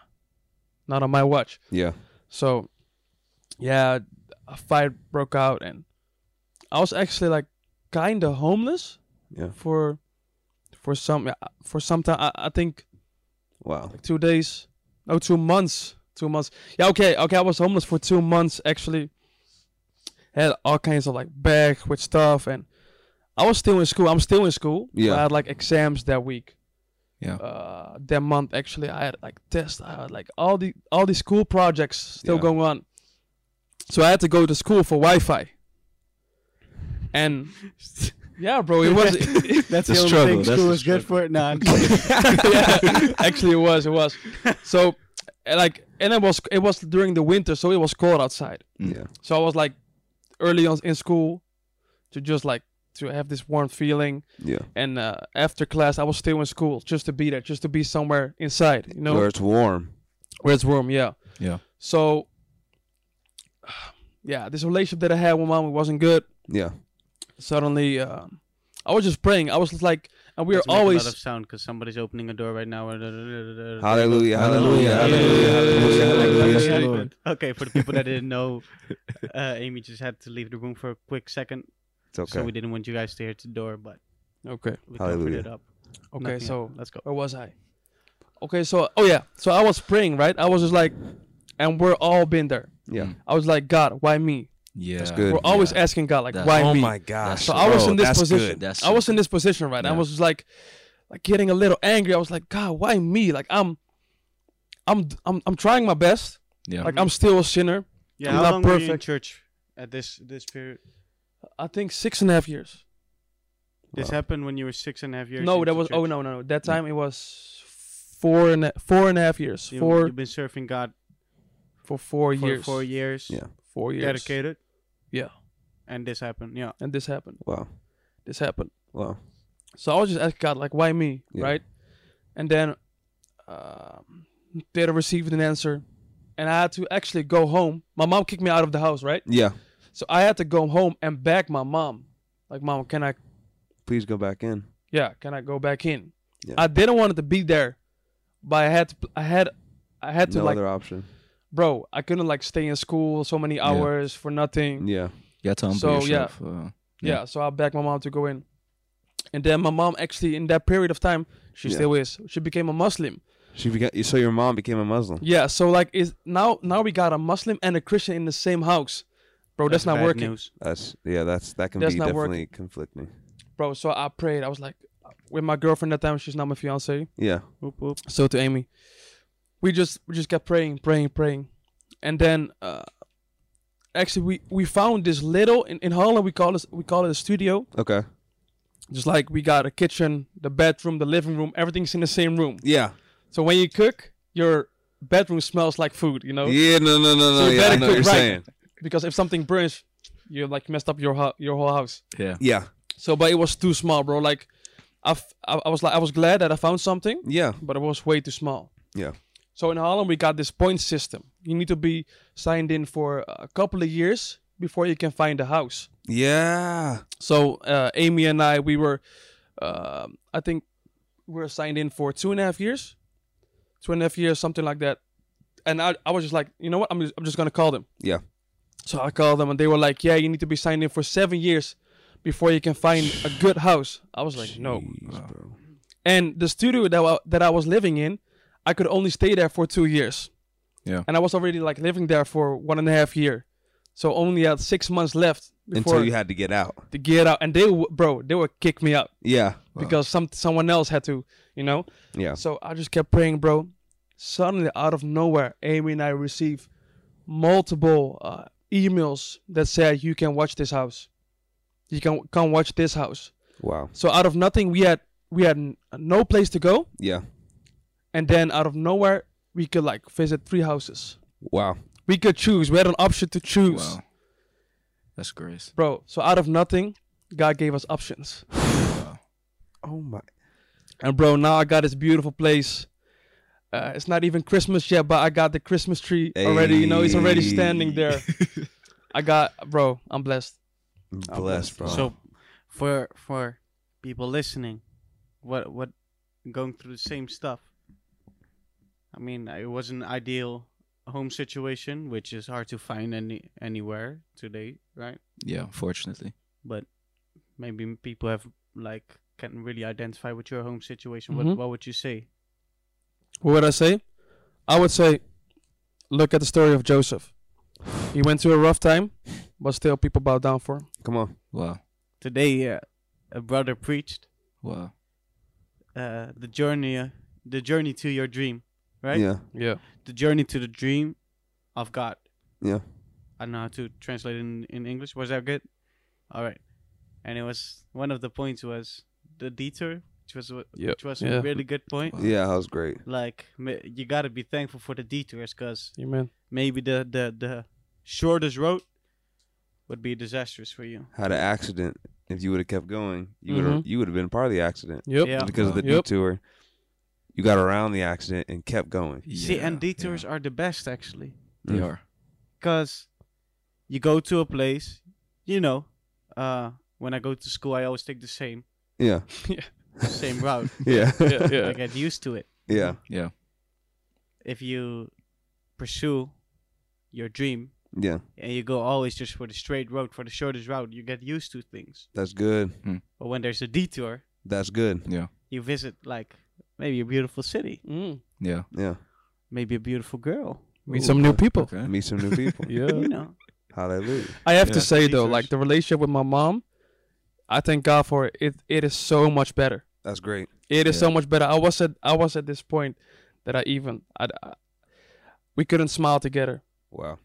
not on my watch.
Yeah.
So, yeah, a fight broke out, and I was actually like kind of homeless
Yeah.
for for some for some time. I, I think
Wow.
like two days, no, two months, two months. Yeah, okay, okay. I was homeless for two months actually. Had all kinds of like bag with stuff, and I was still in school. I'm still in school. but
Yeah.
I had like exams that week
Yeah.
uh that month actually I had like tests I had like all the all these school projects still
Yeah.
going on so I had to go to school for Wi-Fi and yeah bro it was
That's
The
the, only
struggle,
thing
that's
school
the
is good for. Nah, I'm kidding.
yeah, actually it was it was so and, like and it was it was during the winter so it was cold outside
Yeah.
so I was like early on in school to just like to have this warm feeling
Yeah.
and uh, after class I was still in school just to be there just to be somewhere inside you know
Where it's warm.
where it's warm yeah
Yeah.
so yeah this relationship that i had with mom wasn't good
Yeah.
suddenly um i was just praying i was just like and we were
Let's make a lot of
always
sound because somebody's opening a door right now.
Hallelujah.
Hallelujah,
Hallelujah. Hallelujah.
hallelujah,
Hallelujah.
hallelujah. Lord.
Okay, for the people that didn't know, uh, Amy just had to leave the room for a quick second,
It's okay.
so we didn't want you guys to hear the door, but
okay
we covered
Hallelujah.
it up.
okay
Nothing
so
happened. let's go.
where was i okay so oh yeah so i was praying right i was just like and we're all been there
yeah.
Mm.
i was like god why me
Yeah.
That's good.
we're always
yeah.
asking god like
That's-
why
Oh
me
my gosh.
so i was
bro,
in this
that's
position
good.
That's
i was in this position right i
Yeah.
was just like like getting a little angry i was like god why me like i'm i'm i'm, I'm trying my best
Yeah.
Like I'm still a sinner.
Yeah,
I'm
how
not
long were you in
perfect.
church at this this period?
I think six and a half years.
This
Wow.
happened when you were six and a half years.
no,
into
that was
church.
oh no no no. That time it was four and a, four and a half years.
You,
four
You've been serving God
for four
for
years.
four years.
Yeah.
Four years.
Dedicated.
Yeah.
And this happened. Yeah.
And this happened.
Wow.
This happened.
Wow.
So I was just asking God like, why me,
Yeah.
right? And then um, did I received an answer, and I had to actually go home. My mom kicked me out of the house, right?
Yeah.
So I had to go home and beg my mom, like, mom, can I
Please go back in.
yeah, can I go back in?
Yeah.
I didn't want it to be there, but I had to, I had I had to
No
like
other option.
bro, I couldn't like stay in school so many hours for nothing.
Yeah.
yeah. To humble
So, yeah.
yourself. Uh,
Yeah.
Mm-hmm.
Yeah.
so I begged my mom to go in. And then my mom actually in that period of time, she
Yeah.
still is. She became a Muslim.
She began, so your mom became a Muslim.
Yeah, so like is now now we got a Muslim and a Christian in the same house. Bro, that's, not
bad
working.
News.
That's yeah. That's that can
That's
be
not
definitely
working.
conflicting.
Bro, so I prayed. I was like with my girlfriend at that time, she's not my fiance.
Yeah.
Whoop, whoop.
so to Amy. We just we just kept praying, praying, praying, and then uh, actually we we found this little in, in Holland we call this we call it a studio.
Okay.
Just like we got a kitchen, the bedroom, the living room, everything's in the same room.
Yeah.
So when you cook, your bedroom smells like food, you know,
Yeah. No. No. No. No.
Oh. So you
yeah. I
better
know what you're
cook right.
saying.
because if something burns, you like messed up your ho- your whole house.
yeah.
Yeah.
So but it was too small, bro. Like I f- I I was like I was glad that I found something.
Yeah.
but it was way too small.
Yeah.
So in Holland, we got this point system. You need to be signed in for a couple of years before you can find a house.
Yeah.
So uh, Amy and I, we were, um I think, we were signed in for two and a half years, two and a half years, something like that. And I, I was just like, you know what? I'm just, I'm just gonna call them.
Yeah.
So I called them, and they were like, yeah, you need to be signed in for seven years before you can find a good house. I was like, no. uh,
Jeez, bro.
And the studio that I, that I was living in, I could only stay there for two years.
Yeah.
And I was already like living there for one and a half year, so only had six months left before
Until you had to get out.
to get out. And they, w- bro, they would kick me out
Yeah.
because some someone else had to, you know.
Yeah.
So I just kept praying, bro. Suddenly, out of nowhere, Amy and I received multiple uh, emails that said, "You can watch this house. You can come watch this house."
Wow.
So out of nothing, we had we had n- no place to go
Yeah.
and then out of nowhere we could like visit three houses
Wow.
we could choose we had an option to choose
Wow. That's grace.
bro so out of nothing god gave us options
Wow.
Oh my.
and bro now i got this beautiful place uh, it's not even Christmas yet, but I got the Christmas tree already. You know, it's already standing there. I got, bro, I'm blessed.
Blessed, bro.
So, for for people listening, what what going through the same stuff. I mean, it was an ideal home situation, which is hard to find any anywhere today, right?
Yeah, unfortunately.
But maybe m- people have like can really identify with your home situation.
Mhm.
What what would you say?
What would I say? I would say, look at the story of Joseph. He went through a rough time, but still people bow down for him.
Come on.
Wow.
Today, uh, a brother preached
Wow.
uh, the journey, uh, the journey to your dream, right?
Yeah.
Yeah.
The journey to the dream of God.
Yeah.
I don't know how to translate it in, in English. Was that good? All right. And it was one of the points was the detour, which was what-
Yep.
which was
Yeah.
a really good point.
Wow.
Yeah, that was great.
Like ma- you got to be thankful for the detours because
Amen.
maybe the, the the shortest road would be disastrous for you.
Had an accident. If you would have kept going, you would
Mhm.
have you would have been part of the accident
Yep.
Yeah.
because of the
Yep.
detour. You got around the accident and kept going.
See,
Yeah,
and detours
yeah.
are the best actually
They are.
because you go to a place, you know. Uh, when I go to school, I always take the same
Yeah.
same route.
Yeah.
Yeah,
I
yeah.
get used to it.
yeah.
Yeah.
if you pursue your dream
Yeah.
and you go always just for the straight road, for the shortest route, you get used to things.
That's good.
But when there's a detour,
That's good.
Yeah.
you visit like maybe a beautiful city,
Mm.
Yeah.
Yeah.
maybe a beautiful girl.
Meet
Ooh,
some new people.
Okay.
Meet some new people.
Yeah.
You know,
Hallelujah.
I have
Yeah.
to say though,
Jesus.
like the relationship with my mom, I thank God for it. It, it is so much better.
That's great.
It is
Yeah.
so much better. I was at I was at this point that I even I, I we couldn't smile together.
Wow.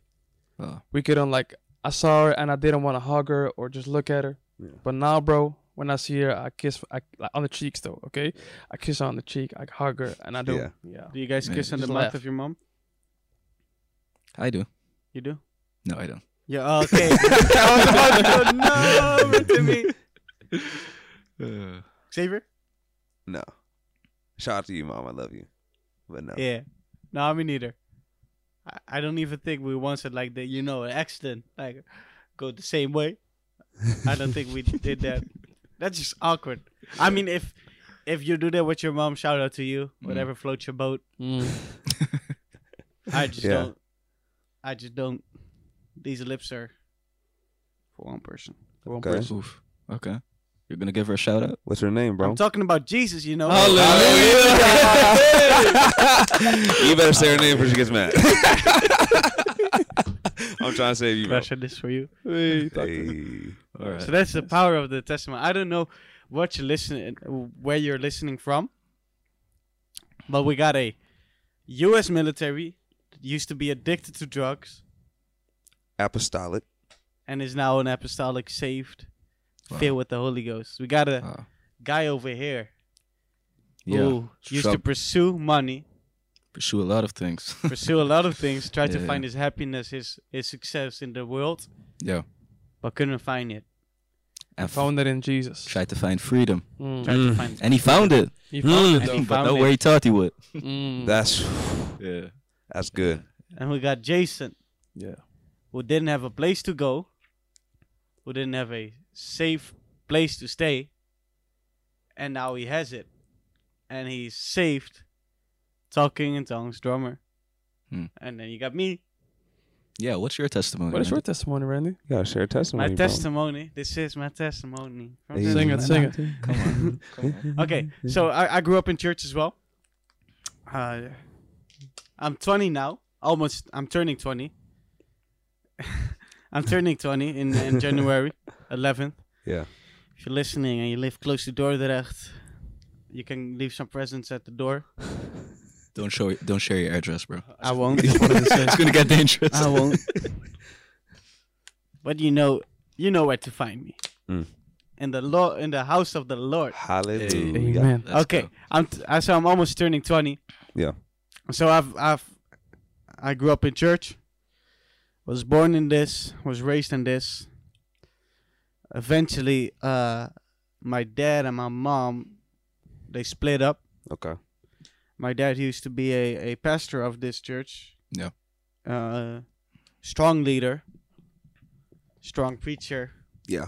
Wow.
we couldn't like I saw her and I didn't want to hug her or just look at her.
Yeah.
But now, bro, when I see her, I kiss I, like, on the cheeks though. Okay, I kiss her on the cheek, I hug her, and I do.
Yeah.
Yeah.
do you guys
Yeah.
kiss on the
Just
mouth
laugh.
of your mom?
I do.
You do?
No, I don't.
Yeah, oh, okay. I was about to go, Oh, no, Timmy.
Uh,
Xavier?
No. Shout out to you, mom. I love you. But no.
Yeah. No, I mean neither. I, I don't even think we once had like the you know an accident like go the same way. I don't think we did that. That's just awkward. I mean if if you do that with your mom, shout out to you.
Mm.
Whatever floats your boat.
Mm.
I just
Yeah.
don't I just don't these lips are for one person.
One
Okay.
person.
oof. Okay. You're gonna give her a shout out.
What's her name, bro?
I'm talking about Jesus, you know.
you better say her name before she gets mad. I'm trying to save you, bro.
Pressure this for you.
Hey.
All right.
So that's the power of the testimony. I don't know what you're listening, where you're listening from, but we got a U.S. military that used to be addicted to drugs
Apostolic.
and is now an apostolic saved,
Wow.
filled with the Holy Ghost. We got a
Wow.
guy over here
Ah, Yeah.
who used to
Struggle-
pursue money,
pursue a lot of things.
pursue a lot of things, try to
Yeah,
find his happiness, his his success in the world,
yeah.
but couldn't find it.
And
Found it in Jesus.
tried to find freedom,
Mm.
Tried to find
and he found it.
He found
And
it
he
though.
but
found
not
it.
where he thought he would.
Mm.
That's
Yeah.
that's good.
and we got Jason.
Yeah.
Who didn't have a place to go, who didn't have a safe place to stay, and now he has it. And he's saved, talking in tongues, drummer.
Hmm.
And then you got me,
Yeah. What's your testimony?
What is
man?
your testimony, Randy?
You gotta share testimony.
my testimony. This is my testimony. From
Hey.
the-
Sing it, sing it.
Come on. Come on.
Okay, so I, I grew up in church as well. Uh, I'm 20 now, almost. I'm turning 20. I'm turning 20 in, in January 11th.
Yeah.
If you're listening and you live close to Dordrecht, you can leave some presents at the door.
Don't show. Don't share your address, bro.
I won't.
it's gonna get dangerous.
I won't. but you know, you know where to find me.
Mm.
In the law, in the house of the Lord.
Hallelujah.
Amen.
Let's
okay,
go.
I'm t- I- so I'm almost turning 20.
Yeah.
So I've I've I grew up in church. Was born in this. Was raised in this. Eventually, uh, my dad and my mom, they split up.
Okay.
my dad used to be a, a pastor of this church.
Yeah.
Uh, strong leader, strong preacher,
Yeah.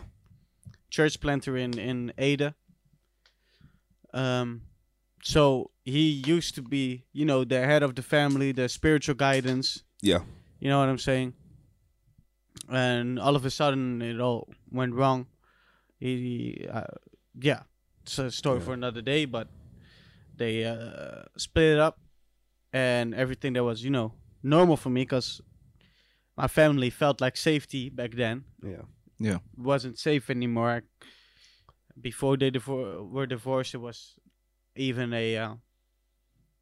church planter in in Ada. Um, so he used to be, you know, the head of the family, the spiritual guidance.
Yeah.
You know what I'm saying? And all of a sudden, it all went wrong. He, uh, yeah, it's a story
Yeah.
for another day. But they uh, split it up, and everything that was, you know, normal for me because my family felt like safety back then
Yeah.
wasn't safe anymore. I, before they divor- were divorced, it was even a uh,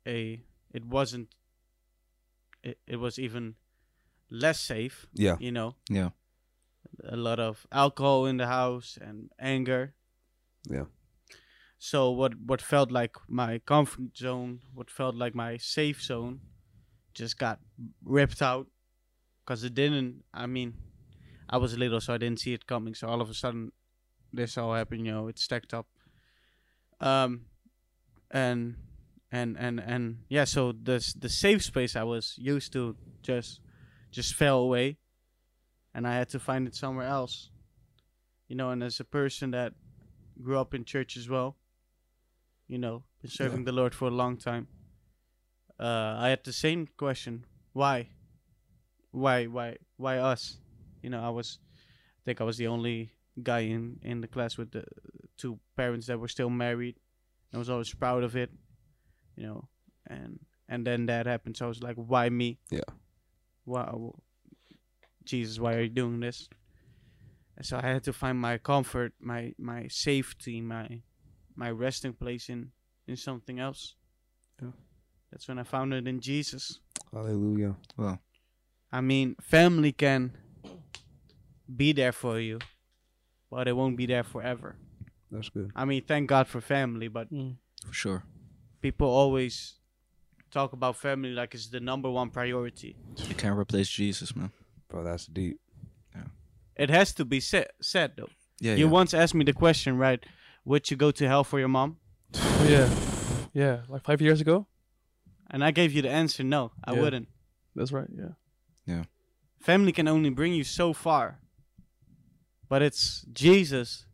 a it wasn't it, it was even less safe.
Yeah.
You know,
Yeah.
a lot of alcohol in the house and anger.
Yeah.
So what what felt like my comfort zone, what felt like my safe zone, just got ripped out because it didn't. I mean, I was little, so I didn't see it coming. So all of a sudden, this all happened. You know, it stacked up. Um, and and and and yeah. So the s- the safe space I was used to just just fell away, and I had to find it somewhere else. You know, and as a person that grew up in church as well, you know, been serving the Lord for a long time. Uh, I had the same question: Why? Why? Why? Why us? you know i was i think i was the only guy in in the class with the two parents that were still married i was always proud of it you know and and then that happened so i was like why me
Yeah.
why jesus why are you doing this and so i had to find my comfort my my safety my my resting place in in something else
Yeah.
that's when i found it in jesus
Hallelujah.
Well,
I mean, family can be there for you, but it won't be there forever.
That's good.
I mean, thank God for family, but
Mm.
for sure.
people always talk about family like it's the number one priority.
You can't replace Jesus, man.
Bro, that's deep.
It has to be said, said though.
Yeah.
You
yeah.
once asked me the question, right? Would you go to hell for your mom?
Oh, yeah. Yeah. Like five years ago?
And I gave you the answer, no, I
Yeah.
wouldn't.
That's right. Yeah.
Family can only bring you so far, but it's Jesus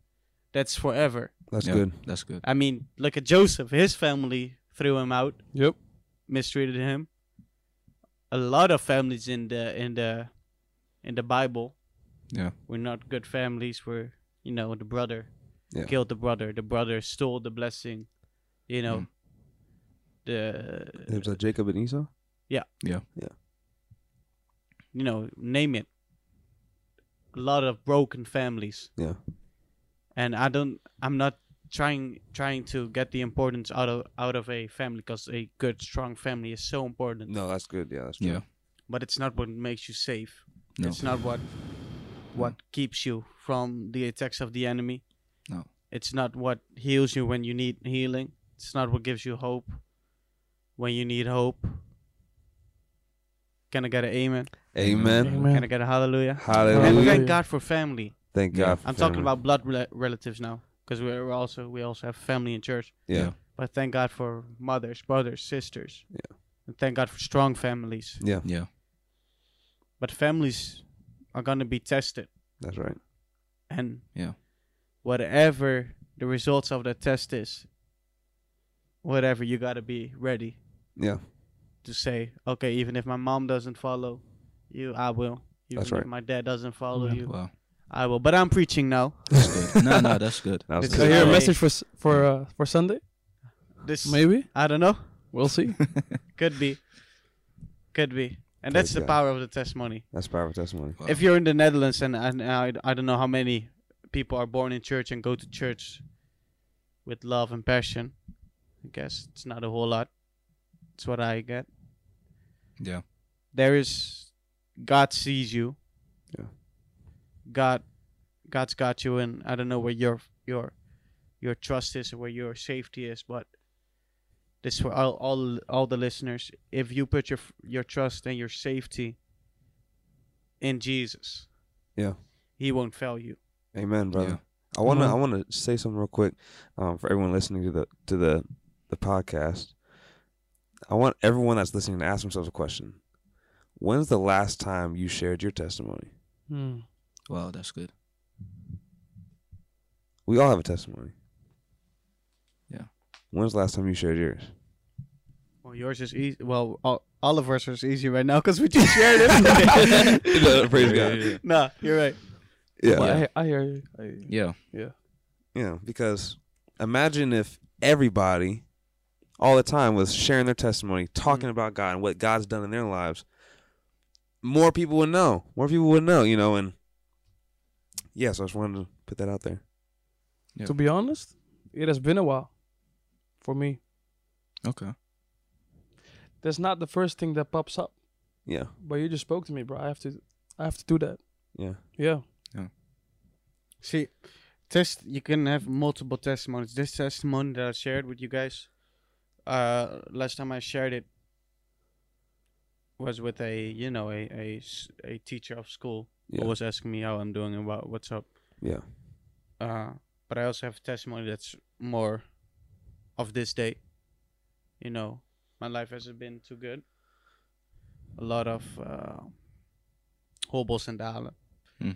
that's forever.
That's
Yeah,
good.
That's good.
I mean, look at Joseph. His family threw him out.
Yep.
mistreated him. A lot of families in the in the in the Bible.
Yeah.
We're not good families. We're you know, the brother
Yeah.
killed the brother. The brother stole the blessing. You know.
Mm.
The
It was like Jacob and Esau.
you know, name it. A lot of broken families.
Yeah.
And I don't. I'm not trying trying to get the importance out of out of a family because a good strong family is so important.
No, that's good. Yeah, that's true.
Yeah.
But it's not what makes you safe.
No.
It's not what what keeps you from the attacks of the enemy.
No.
It's not what heals you when you need healing. It's not what gives you hope when you need hope. Can I get an amen?
Amen.
Amen.
Can I get a hallelujah? And
Hallelujah.
Hallelujah.
thank God for family.
Thank God.
Yeah.
for
I'm talking
family.
about blood rela- relatives now because we're also we also have family in church.
Yeah.
But thank God for mothers, brothers, sisters.
Yeah.
And thank God for strong families.
Yeah.
Yeah.
But families are gonna be tested.
That's right.
and
Yeah.
whatever the results of the test is whatever you got to be ready
Yeah.
to say okay even if my mom doesn't follow you i will even
That's
if
right.
my dad doesn't follow
Yeah.
you
Wow.
i will but i'm preaching now
That's good. no, no, that's good.
That was
It's
So
a
good.
here a
Hey.
message for s- for uh, for Sunday?
this
Maybe.
i don't know
We'll see.
could be could be and that's
Praise
the
God.
power of the testimony
That's powerful testimony.
Wow.
if you're in the netherlands and, and I, I don't know how many people are born in church and go to church with love and passion i guess it's not a whole lot it's what i get
yeah.
there is God sees you.
Yeah.
God God's got you and I don't know where your your your trust is or where your safety is, but this is for all all all the listeners. If you put your your trust and your safety in Jesus.
Yeah.
He won't fail you.
Amen, brother.
Yeah.
I wanna
Mhm.
I wanna say something real quick um, for everyone listening to the to the the podcast. I want everyone that's listening to ask themselves a question. When's the last time you shared your testimony?
Hmm.
Wow, that's good.
We all have a testimony.
Yeah.
When's the last time you shared yours?
Well, yours is easy. Well, all, all of ours is easy right now because we just shared it.
No, praise God.
nah, you're right.
Yeah.
Well, I, I hear you. I hear you.
Yeah.
Yeah, because imagine if everybody all the time was sharing their testimony,
Mm-hmm.
talking about God and what God's done in their lives. More people would know. More people would know, you know, and yeah, so I just wanted to put that out there.
Yeah.
To be honest, it has been a while for me.
Okay.
That's not the first thing that pops up,
Yeah.
but you just spoke to me, bro. I have to, I have to do that.
Yeah.
Yeah.
See, test. You can have multiple testimonies. This testimony that I shared with you guys, uh, last time I shared it was with a you know a a, s- a teacher of school
Yeah.
who was asking me how I'm doing and what what's up.
Yeah.
Uh, but I also have a testimony that's more of this day. You know, my life hasn't been too good. A lot of uh, hobbles and dalen.
Hmm.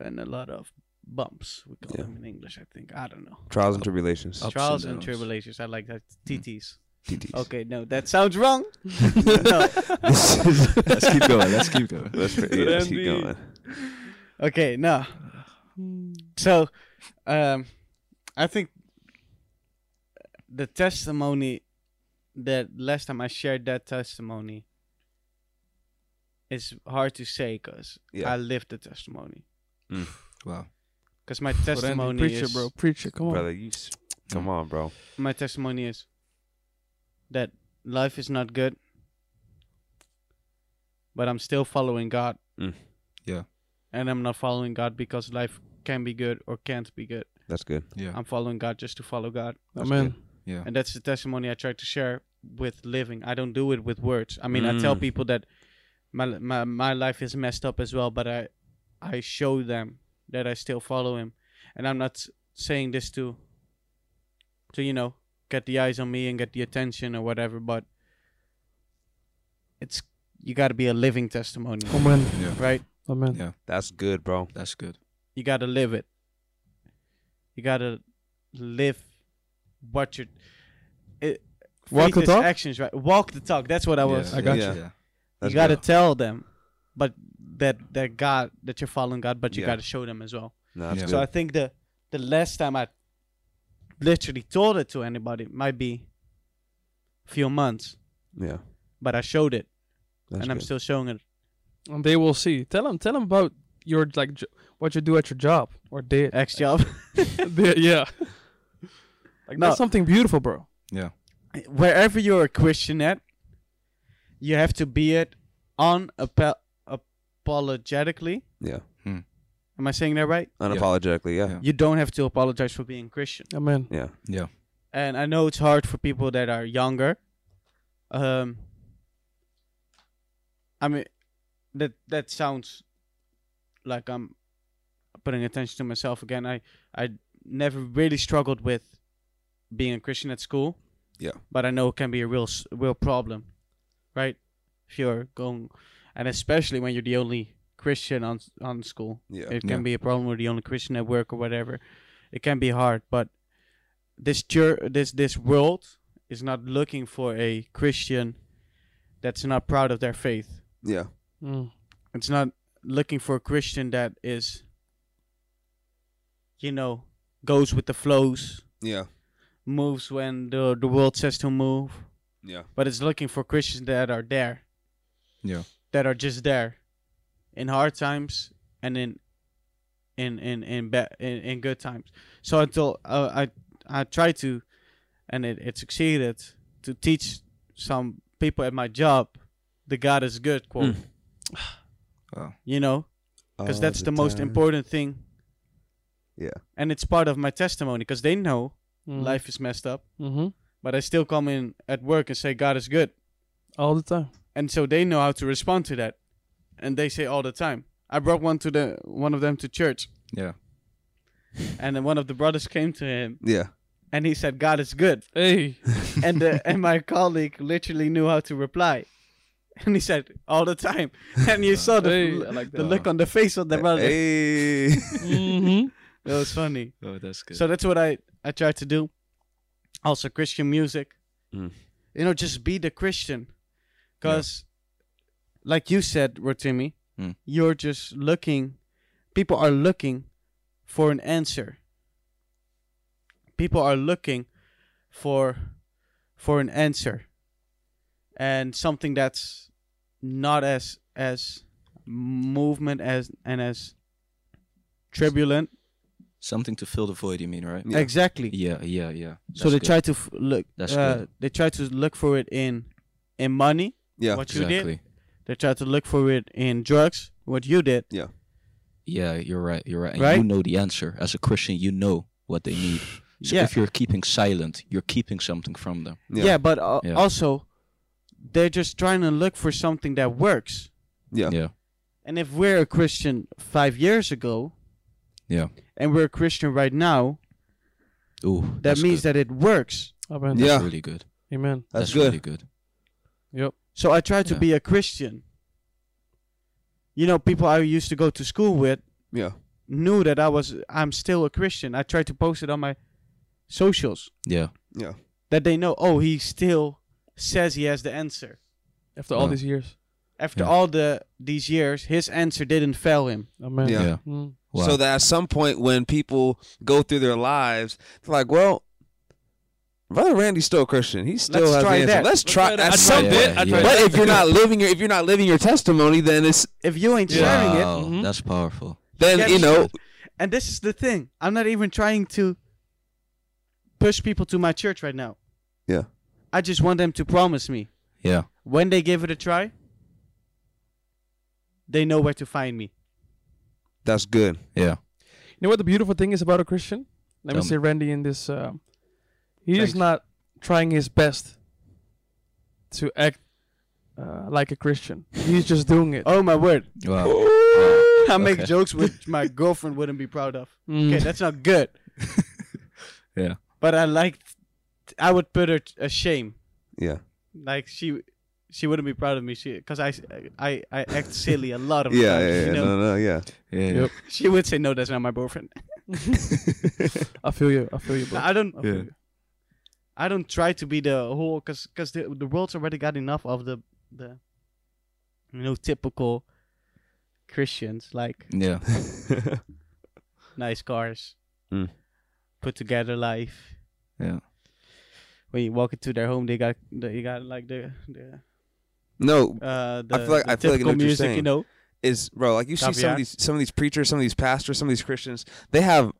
And a lot of bumps, we call
Yeah.
them in English, I think. I don't know.
Trials and tribulations.
Ups and
Trials and
downs. Hmm.
tribulations. I like that. TTs.
TTs.
Okay, no, that sounds wrong. No.
let's keep going. Let's keep going.
Let's, yeah, let's keep
Randy.
going.
Okay, no. So, um, I think the testimony that last time I shared that testimony is hard to say because
Yeah.
I lived the testimony.
Wow.
Because my
But Andy,
testimony
preacher,
is
bro. Preacher, come on.
Brother, you s- come on, bro.
my testimony is that life is not good, but I'm still following God.
Mm.
Yeah.
and I'm not following God because life can be good or can't be good.
That's good.
Yeah.
I'm following God just to follow God.
Amen.
Yeah.
And that's the testimony I try to share with living. I don't do it with words. I mean, I tell
Mm.
people that my, my my life is messed up as well, but I I show them that I still follow him. And I'm not s- saying this to to you know, get the eyes on me and get the attention or whatever, but it's you got to be a living testimony,
Amen.
Yeah.
right?
Amen.
Yeah.
That's good, bro.
That's good.
you gotta live it. You gotta live what you. It,
Walk
faith
the
is
talk?
Actions, right? Walk the talk. That's what I was.
Yeah.
I got
you.
Yeah.
you
That's
gotta
good.
tell them, but that that God that you're following God, but you
Yeah.
gotta show them as well.
No, that's
Yeah.
good.
So I think the the last time I literally told it to anybody might be a few months,
yeah.
but I showed it,
That's
and I'm
good.
still showing it.
And they will see. Tell them. Tell them about your like jo- what you do at your job or did.
X job.
They- yeah. Like
No.
that's something beautiful, bro.
Yeah.
wherever you're a Christian at, you have to be it unapologetically.
Yeah.
Am I saying that right?
Unapologetically, yeah.
Yeah.
You don't have to apologize for being Christian.
Amen.
Yeah.
Yeah.
And I know it's hard for people that are younger. Um I mean that that sounds like I'm putting attention to myself again. I I never really struggled with being a Christian at school.
Yeah.
But I know it can be a real s- real problem, right? If you're going and especially when you're the only Christian on s- on school.
Yeah.
It can
Yeah.
be a problem with the only Christian at work or whatever. It can be hard, but this chur- this this world is not looking for a Christian that's not proud of their faith.
Yeah.
Mm.
It's not looking for a Christian that is, you know, goes with the flows,
Yeah.
moves when the the world says to move.
Yeah.
But it's looking for Christians that are there,
Yeah.
that are just there, in hard times and in in in in ba- in, in good times. So until uh, I I try to, and it, it succeeded to teach some people at my job, the God is good quote.
Mm. Wow.
You know, because
All
that's the, most
time.
important thing.
Yeah.
And it's part of my testimony because they know
Mm.
life is messed up,
Mm-hmm.
but I still come in at work and say God is good.
All the time.
and so they know how to respond to that and they say all the time i brought one to the one of them to church
Yeah.
and then one of the brothers came to him
Yeah.
and he said, God is good.
Hey.
And, the, and my colleague literally knew how to reply. And he said, all the time. And you saw the,
Hey, I like
the look on the face of the brother.
Hey.
mm-hmm.
It was funny.
Oh, that's good.
So that's what I, I try to do. Also, Christian music.
Mm.
You know, just be the Christian. Because, like you said, Rotimi,
Mm.
you're just looking, people are looking for an answer. People are looking for for an answer and something that's not as as movement as and as turbulent
Something to fill the void, you mean, right?
Yeah.
exactly
Yeah, yeah, yeah.
so they
That's
try to f- look.
That's
uh,
good.
They try to look for it in in money.
Yeah.
What
good.
you did.
exactly.
They try to look for it in drugs. What you did.
Yeah, you're right. You're right. And
Right?
you know the answer. As a Christian, you know what they need. So
Yeah.
if you're keeping silent, you're keeping something from them.
Yeah,
Yeah.
but uh,
Yeah.
also they're just trying to look for something that works.
Yeah.
Yeah.
And if we're a Christian five years ago,
Yeah.
and we're a Christian right now,
Ooh,
that means that it works.
Amen.
That's
Yeah.
really good.
Amen.
That's,
That's
good.
really good.
So I try to
Yeah.
be a Christian. You know, people I used to go to school with
Yeah.
knew that I was. I'm still a Christian. I tried to post it on my socials.
Yeah.
Yeah.
that they know, oh, he still says he has the answer.
After all
Yeah.
these years.
After
Yeah.
all the these years, his answer didn't fail him.
Amen.
Yeah.
Yeah.
Mm.
Wow.
So that at some point when people go through their lives, they're like, well, Brother Randy's still a Christian. He still
Let's
has
try
the answer.
that.
Let's try
I
at
tried
some
yeah,
point.
that. I
yeah.
tried
But
that.
if you're not living your if you're not living your testimony, then it's
If you ain't
Yeah.
sharing it,
wow,
Mhm.
that's powerful.
then
Yeah,
you know
and this is the thing, I'm not even trying to push people to my church right now.
Yeah.
I just want them to promise me
Yeah.
when they give it a try, they know where to find me.
that's good.
Yeah.
You know what the beautiful thing is about a Christian? Let me
Tell me.
say Randy in this. Um, he
Thanks.
is not trying his best to act uh, like a Christian. He's just doing it.
Oh my word!
Wow.
I make
Okay.
jokes which my girlfriend wouldn't be proud of.
Mm.
Okay, that's not good.
Yeah.
But I liked. I would put her t- a shame.
Yeah.
Like she, she wouldn't be proud of me. She, because I, I, I act silly a lot of
Yeah, yeah,
times.
yeah.
you know?
No, no, yeah.
Yeah.
Yep.
She would say, "No, that's not my boyfriend."
I feel you. I feel you, bro.
I don't.
Yeah.
I don't try to be the whole, cause, cause the the world's already got enough of the the, you know, typical Christians like
Yeah.
nice cars,
Mm.
put together life,
Yeah.
when you walk into their home, they got the, you got like the the
No,
uh the,
I feel like-
the
I feel like I
typical
know what you're
music, you
saying.
know.
is bro, like you see some
Caveat.
of these some of these preachers, some of these pastors, some of these Christians, they have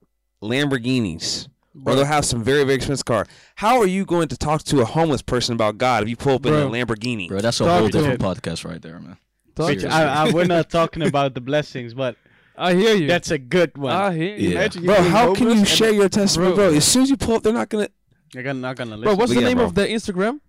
Lamborghinis. Or they'll have some very, very expensive car. How are you going to talk to a homeless person about God if you pull up
Bro.
in a Lamborghini?
Bro, that's a
Talk
whole
to
different podcast right there, man.
Talk-
Bitch,
I,
I, I, we're not talking about the blessings, but
I hear you.
that's a good one.
I hear you.
Yeah.
Imagine you
Bro,
being
how can
homeless
you
and-
share your testimony,
Bro.
bro? As soon as you pull up, they're not gonna.
You're gonna- not gonna listen.
Bro, what's the
But yeah,
name
bro.
of the Instagram?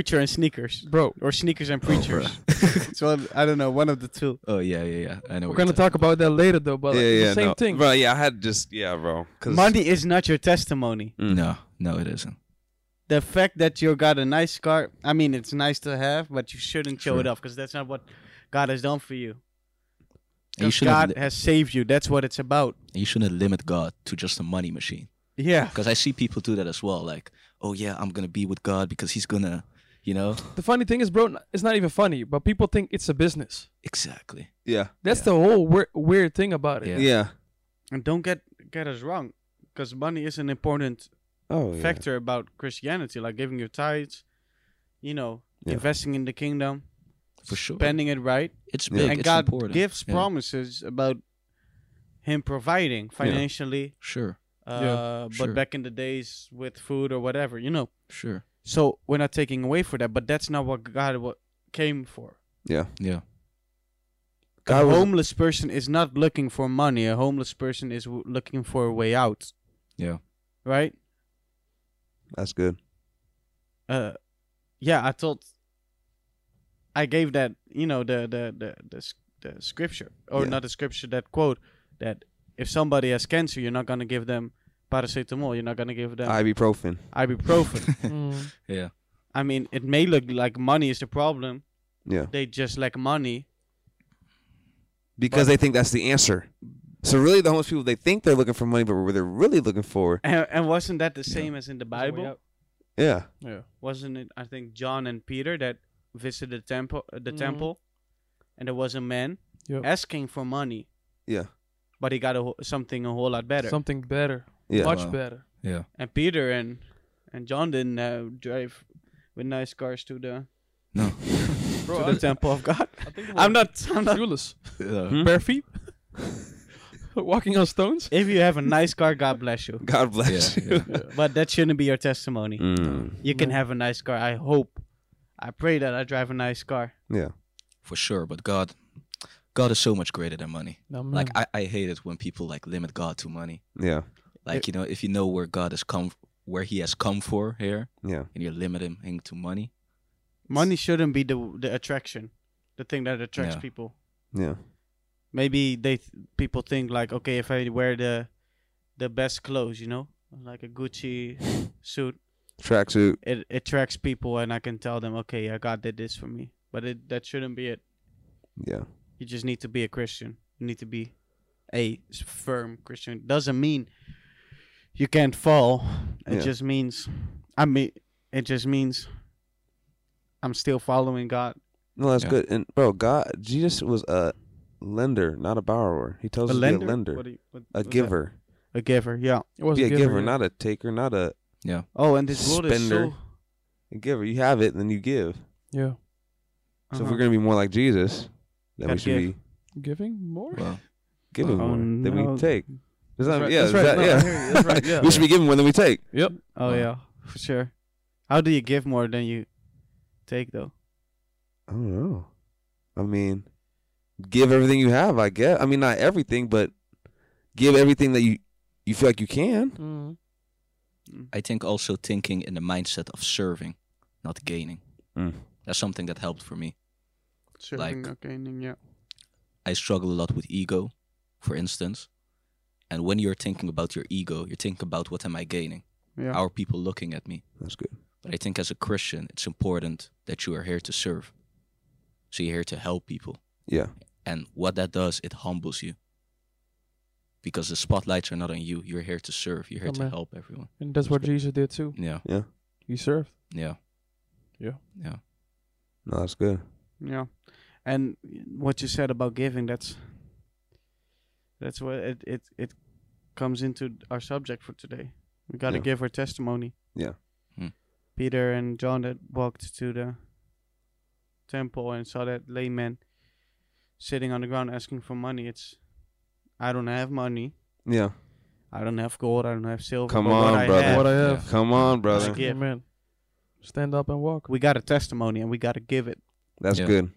preacher and sneakers,
Bro,
or sneakers and preachers? Oh, so I don't know, one of the two.
Oh yeah, yeah, yeah. I know.
we're
what
gonna
you're talking
talk about that later, though. But like, it's the same
no.
thing.
bro. Yeah, I had just yeah, bro. 'cause-
Money is not your testimony.
Mm.
No, no, it isn't.
The fact that you got a nice car, I mean, it's nice to have, but you shouldn't show
Sure.
it off because that's not what God has done for you.
And you
'Cause
shouldn't.
God
li-
has saved you. That's what it's about.
you shouldn't limit God to just a money machine.
Yeah.
Because I see people do that as well. Like, oh yeah, I'm gonna be with God because He's gonna, you know.
The funny thing is, bro, n- it's not even funny, but people think it's a business.
Exactly.
Yeah,
That's
Yeah.
the whole weir- weird thing about it.
Yeah.
yeah.
And don't get get us wrong, because money is an important
Oh, yeah.
factor about Christianity, like giving your tithes, you know,
Yeah.
investing in the kingdom,
For sure.
spending it right,
it's
Yeah.
big.
and
it's
God
important.
gives
Yeah.
promises about Him providing financially,
Sure.
uh,
sure.
but back in the days with food or whatever, you know.
Sure.
So we're not taking away for that, but that's not what God what came for.
Yeah,
Yeah.
a
God was-
homeless person is not looking for money. A homeless person is w- looking for a way out,
Yeah.
right?
that's good.
uh yeah i told i gave that you know the the the the, s- the scripture or
Yeah.
not the scripture that quote that if somebody has cancer you're not going to give them paracetamol. You're not gonna give them
Ibuprofen.
ibuprofen.
Mm.
Yeah.
I mean, it may look like money is the problem.
Yeah.
They just lack money.
Because they think that's the answer. So really, the homeless people they think they're looking for money, but what they're really looking for,
And, and wasn't that the same as in the Bible?
yeah,
Yeah.
wasn't it I think John and Peter that visited the temple uh, the
Mhm.
temple and there was a man
Yep.
asking for money
yeah,
but he got a, wh- something a whole lot better
Something better.
yeah.
Much
Wow.
better.
Yeah.
and Peter and and John didn't uh, drive with nice cars to the
No.
to the temple of God
I think
I'm not I'm not
shoeless.
Yeah.
Hmm?
Bare feet. Walking on stones.
if you have a nice car God bless you
God bless
Yeah.
you.
yeah.
but that shouldn't be your testimony
Mm,
you can
No.
have a nice car I hope I pray that I drive a nice car
yeah,
For sure. But God, God is so much greater than money.
No,
Like
Mm.
man.
I, I hate it when people like limit God to money.
yeah,
Like you know, if you know where God has come, where He has come for here,
yeah.
and you limit Him in- to money.
money shouldn't be the the attraction the thing that attracts
Yeah.
people
Yeah.
maybe they th- people think like okay if i wear the the best clothes you know like a gucci suit
Tracksuit.
it attracts people and i can tell them okay yeah, god did this for me but it that shouldn't be it
Yeah.
you just need to be a christian you need to be a s- firm christian doesn't mean you can't fall it
Yeah.
just means i mean it just means i'm still following god
No, that's
Yeah.
good. And bro, God, Jesus was a lender, not a borrower. He tells us to be a lender,
What do you- what-
a
what's that?
giver.
a giver yeah
It was
Be a giver,
yeah.
not a taker, not a,
oh and this world is so
Spender. a giver. You have it, then you give.
Yeah.
So if
Uh-huh.
we're gonna be more like Jesus, then we
Gotta
should
give.
be
Giving more.
Well,
giving
Oh,
more than
no.
we take. Does that,
That's right,
Yeah,
that's
does
right.
that-
No, I
yeah.
hear you, that's right, yeah.
we should be giving more than we take.
Yep.
Oh
Wow.
yeah, for sure. How do you give more than you take though?
I don't know. I mean, give everything you have. I guess. I mean, not everything, but give everything that you you feel like you can.
mm-hmm.
Mm.
I think also thinking in the mindset of serving, not gaining.
Mm.
That's something that helped for me. Serving,
not gaining, yeah.
I struggle a lot with ego, for instance. And when you're thinking about your ego, you're thinking about what am I gaining?
Yeah.
How are people looking at me?
That's good.
But I think as a Christian, it's important that you are here to serve. So you're here to help people.
Yeah.
And what that does, it humbles you. Because the spotlights are not on you. You're here to serve. You're here to
Amen.
help everyone.
And that's what Jesus did too.
Yeah.
He served.
Yeah.
Yeah.
Yeah.
No, that's good.
Yeah. And what you said about giving, that's that's what it it, it comes into our subject for today. We gotta
Yeah.
give our testimony.
Yeah.
Hmm.
Peter and John that walked to the temple and saw that layman sitting on the ground asking for money. It's I don't have money.
Yeah.
I don't have gold. I don't have silver.
Come
but what
on,
I
brother.
have-
What I
Yeah.
have.
Come on, brother.
Like it. Yeah.
Amen. Stand up and walk.
we got a testimony and we got to give it.
That's
Yeah.
good.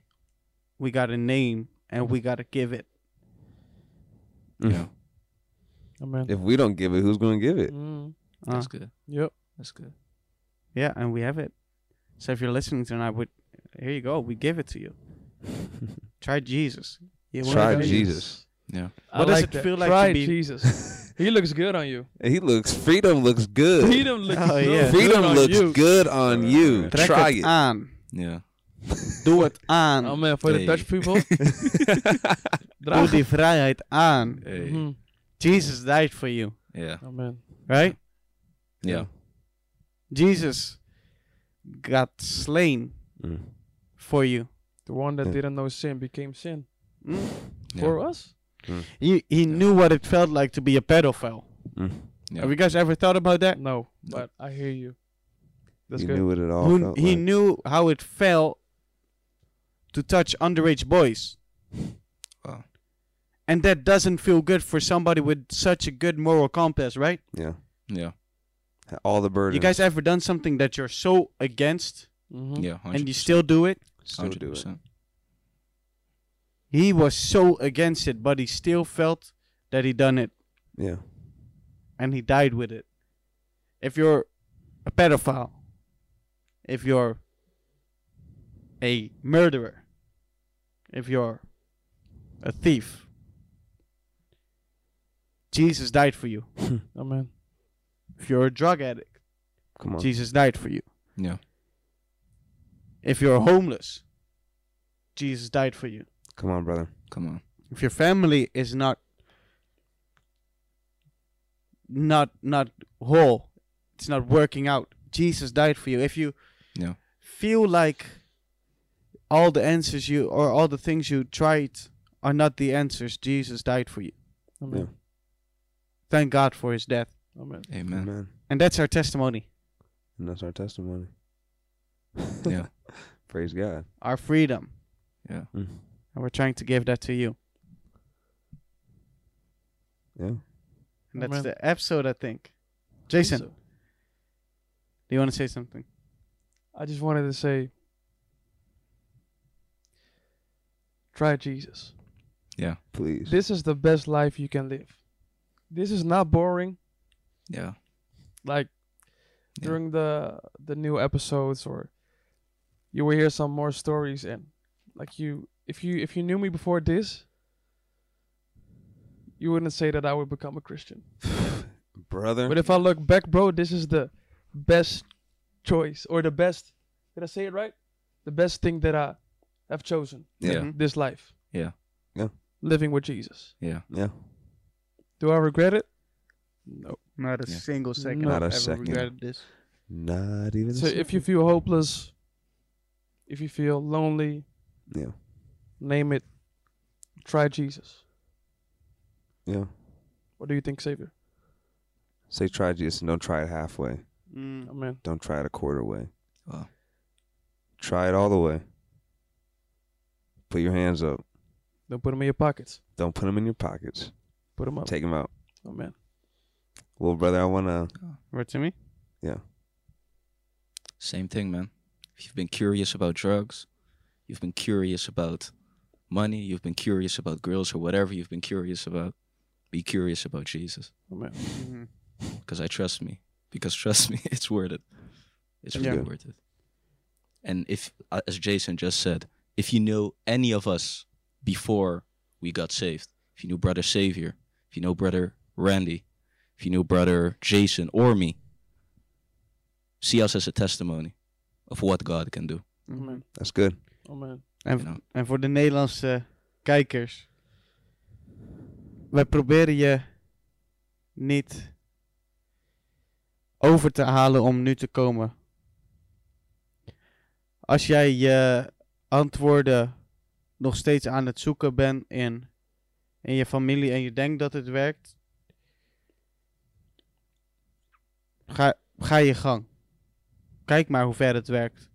We got a name and we got to give it.
Mm.
Yeah.
Ah. Amen.
If we don't give it, who's gonna give it?
Mm.
Uh,
That's good.
Yep.
That's good.
yeah, and we have it. So if you're listening tonight, we, here you go. We give it to you. Try Jesus. You won't
Try
regret it.
Jesus.
Yeah.
I
What does
like
it
that.
feel like to
Try
be-
Jesus. he looks good on you.
He looks. Freedom looks good.
Freedom looks
Oh,
good.
yeah.
Freedom
on
looks
you. Uh,
good on you.
Trek
Try
it,
it.
on.
Yeah.
Do it aan.
Oh man, for the
Hey.
Dutch people.
Doe
draag.
die vrijheid aan.
Hey.
Mhm.
Jesus died for you,
Yeah.
Amen.
right?
Yeah.
Jesus got slain
Mm.
for you.
The one that
Yeah.
didn't know sin became sin
Mm.
Yeah.
for us.
He, he knew what it felt like to be a pedophile.
Mm.
Yeah.
Have you guys ever thought about that?
No, but I hear you. That's
he
good.
knew what it all.
Who-
felt
he
like.
knew how it felt to touch underage boys.
Wow.
And that doesn't feel good for somebody with such a good moral compass, right?
Yeah.
Yeah.
All the burdens.
You guys ever done something that you're so against
Mhm.
Yeah. 100%.
and you still do it?
still do it.
He was so against it, but he still felt that he done it
Yeah.
and he died with it. If you're a pedophile, if you're a murderer, if you're a thief, Jesus died for you.
Oh, Amen.
If you're a drug addict,
Come on.
Jesus died for you.
Yeah.
If you're homeless, Jesus died for you.
Come on, brother.
Come on.
If your family is not not not whole, it's not working out. Jesus died for you. If you
Yeah.
feel like all the answers you or all the things you tried are not the answers, Jesus died for you.
Amen.
Thank God for his death.
Amen.
Amen.
Amen.
And that's our testimony,
And that's our testimony.
Yeah.
Praise God.
our freedom.
Yeah.
Mm.
And we're trying to give that to you.
Yeah.
And that's
Amen.
the episode, I think. Jason, do you want to say something?
I just wanted to say, try Jesus.
Please.
This is the best life you can live. This is not boring.
Yeah.
Like
Yeah.
during the the new episodes, or you will hear some more stories. And like you, if you if you knew me before this, you wouldn't say that I would become a Christian.
brother.
But if I look back, bro, this is the best choice or the best. Did I say it right? The best thing that I have chosen
Yeah.
Mhm.
this life.
Mm-hmm. Yeah.
Yeah.
Living with Jesus.
Yeah.
yeah.
Do I regret it? No.
Not a
Yeah.
single second. I've
Not
a
ever
second.
Regretted this.
Not even. a
So
second.
if you feel hopeless, if you feel lonely,
Yeah.
name it, try Jesus.
Yeah.
What do you think, Savior?
Say try Jesus and don't try it halfway.
Amen.
Don't try it a quarter way.
Wow.
Try it all the way. Put your hands up.
Don't put them in your pockets.
Don't put them in your pockets.
Put them up.
Take them out.
Amen.
Well, brother, I want to.
Right to me?
Same thing, man. If you've been curious about drugs, you've been curious about money, you've been curious about girls or whatever you've been curious about, be curious about Jesus.
Amen.
Mm-hmm.
Mm-hmm.
Because I trust me. Because trust me, it's worth it. It's
That's
really
good.
worth it. And if, uh, as Jason just said, if you know any of us before we got saved, if you knew Brother Savior, if you know Brother Randy, if you knew Brother Jason or me, see us as a testimony of what God can do.
Amen.
That's good.
Amen.
En,
You know?
en voor de Nederlandse kijkers. Wij proberen je niet over te halen om nu te komen. Als jij je antwoorden nog steeds aan het zoeken bent in, in je familie en je denkt dat het werkt, ga, ga je gang. Kijk maar hoe ver het werkt.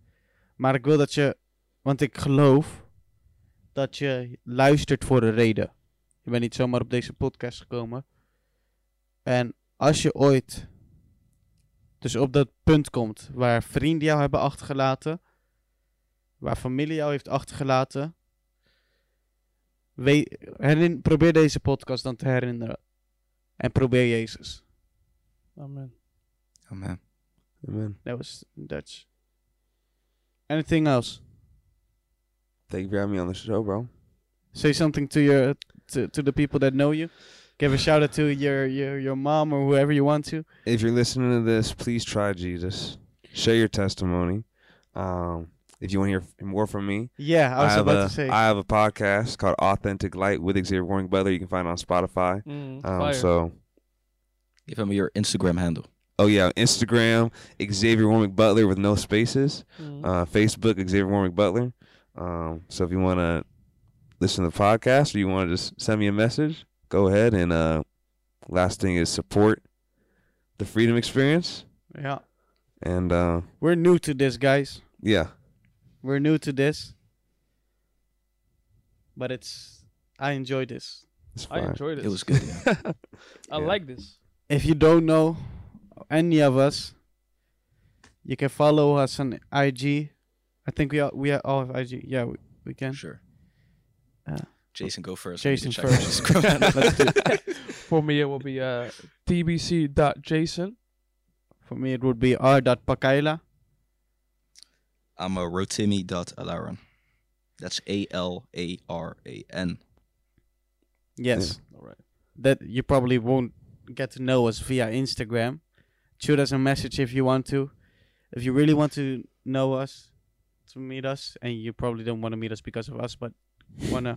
Maar ik wil dat je want ik geloof dat je luistert voor een reden. Je bent niet zomaar op deze podcast gekomen. En als je ooit dus op dat punt komt waar vrienden jou hebben achtergelaten, waar familie jou heeft achtergelaten, we- herin- probeer deze podcast dan te herinneren. En probeer Jezus.
Amen.
Oh,
Amen.
Amen.
Dat was Dutch. Anything else?
Thank you for having me on the show, bro.
say something to your to, to the people that know you give a shout out to your your your mom or whoever you want to
if you're listening to this, please try Jesus. Share your testimony. Um, if you want to hear f- more from me,
yeah i was
have
about
a,
to say
I have a podcast called Authentic Light with Xavier Warring Butler. You can find it on Spotify.
Mm,
Um,
fire.
so,
Give him your Instagram handle.
oh yeah, Instagram Xavier Warwick Butler with no spaces.
Mm.
Uh, Facebook Xavier Warwick Butler. Um, so if you want to listen to the podcast or you want to just send me a message, go ahead. And uh, last thing is support the Freedom Experience.
yeah
And uh,
we're new to this guys
yeah,
we're new to this but it's i enjoy this
it's
I
fine.
enjoyed it.
It was good.
I
Yeah.
like this.
if you don't know any of us you can follow us on ig i think we all we are all have ig yeah we, we can
Sure.
Uh,
Jason, go first.
Jason
Check your
first.
Instagram handle.
Let's do it.
For me, it will be uh, tbc.jason.
for me it would be r.pakaila
I'm a rotimi.alaran. That's A L A R A N.
yes
All right.
that you probably won't get to know us via Instagram. Shoot us a message if you want to. If you really want to know us, to meet us, and you probably don't want to meet us because of us, but want to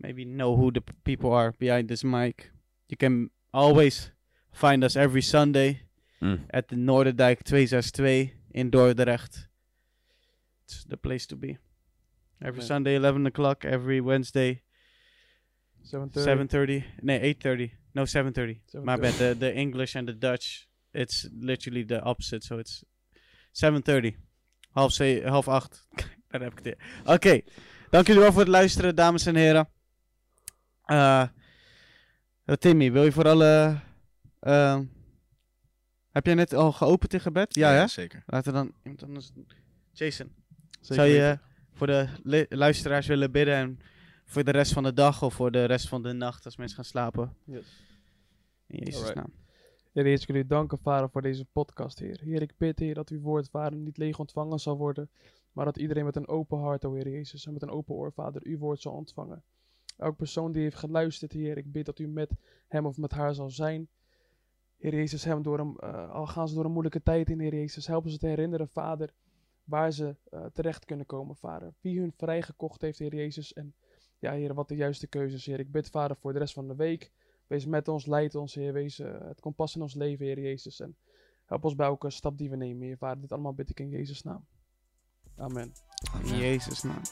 maybe know who the p- people are behind this mic, you can always find us every Sunday
Mm.
at the Noorderdijk 262 in Dordrecht. It's the place to be. Every
Yeah.
Sunday, 11 o'clock. Every Wednesday,
7:30.
7.30. No, 8.30. No, 7.30. My
7:30.
bad. The, the English and the Dutch, it's literally the opposite. So it's 7.30. Half, ze- half acht. Daar heb ik het weer. Oké. Dank jullie wel voor het luisteren, dames en heren. Eh, eh, Timmy, wil je vooral... eh, ehm, heb jij net al geopend in gebed? Ja, hè?
Zeker.
Laten we dan iemand anders... doen. Jason,
Zeker
zou je
weten.
eh, voor de li- luisteraars willen bidden en voor de rest van de dag of voor de rest van de nacht als mensen gaan slapen?
Yes.
In Jezus'
Alright.
naam.
Heer, eerst wil u danken, Vader, voor deze podcast, Heer. Heer, ik bid, Heer, dat uw woord, Vader, niet leeg ontvangen zal worden, maar dat iedereen met een open hart, o Heer Jezus, en met een open oor, Vader, uw woord zal ontvangen. Elk persoon die heeft geluisterd, Heer, ik bid dat u met hem of met haar zal zijn. Heer Jezus, hem door een, eh, al gaan ze door een moeilijke tijd in, Heer Jezus, helpen ze te herinneren, Vader, waar ze eh, terecht kunnen komen, Vader. Wie hun vrijgekocht heeft, Heer Jezus, en ja, Heer, wat de juiste keuzes, Heer. Ik bid, Vader, voor de rest van de week. Wees met ons, leid ons, Heer. Wees eh, het kompas in ons leven, Heer Jezus. En help ons bij elke stap die we nemen, Heer Vader. Dit allemaal bid ik in Jezus' naam. Amen.
In Jezus' naam.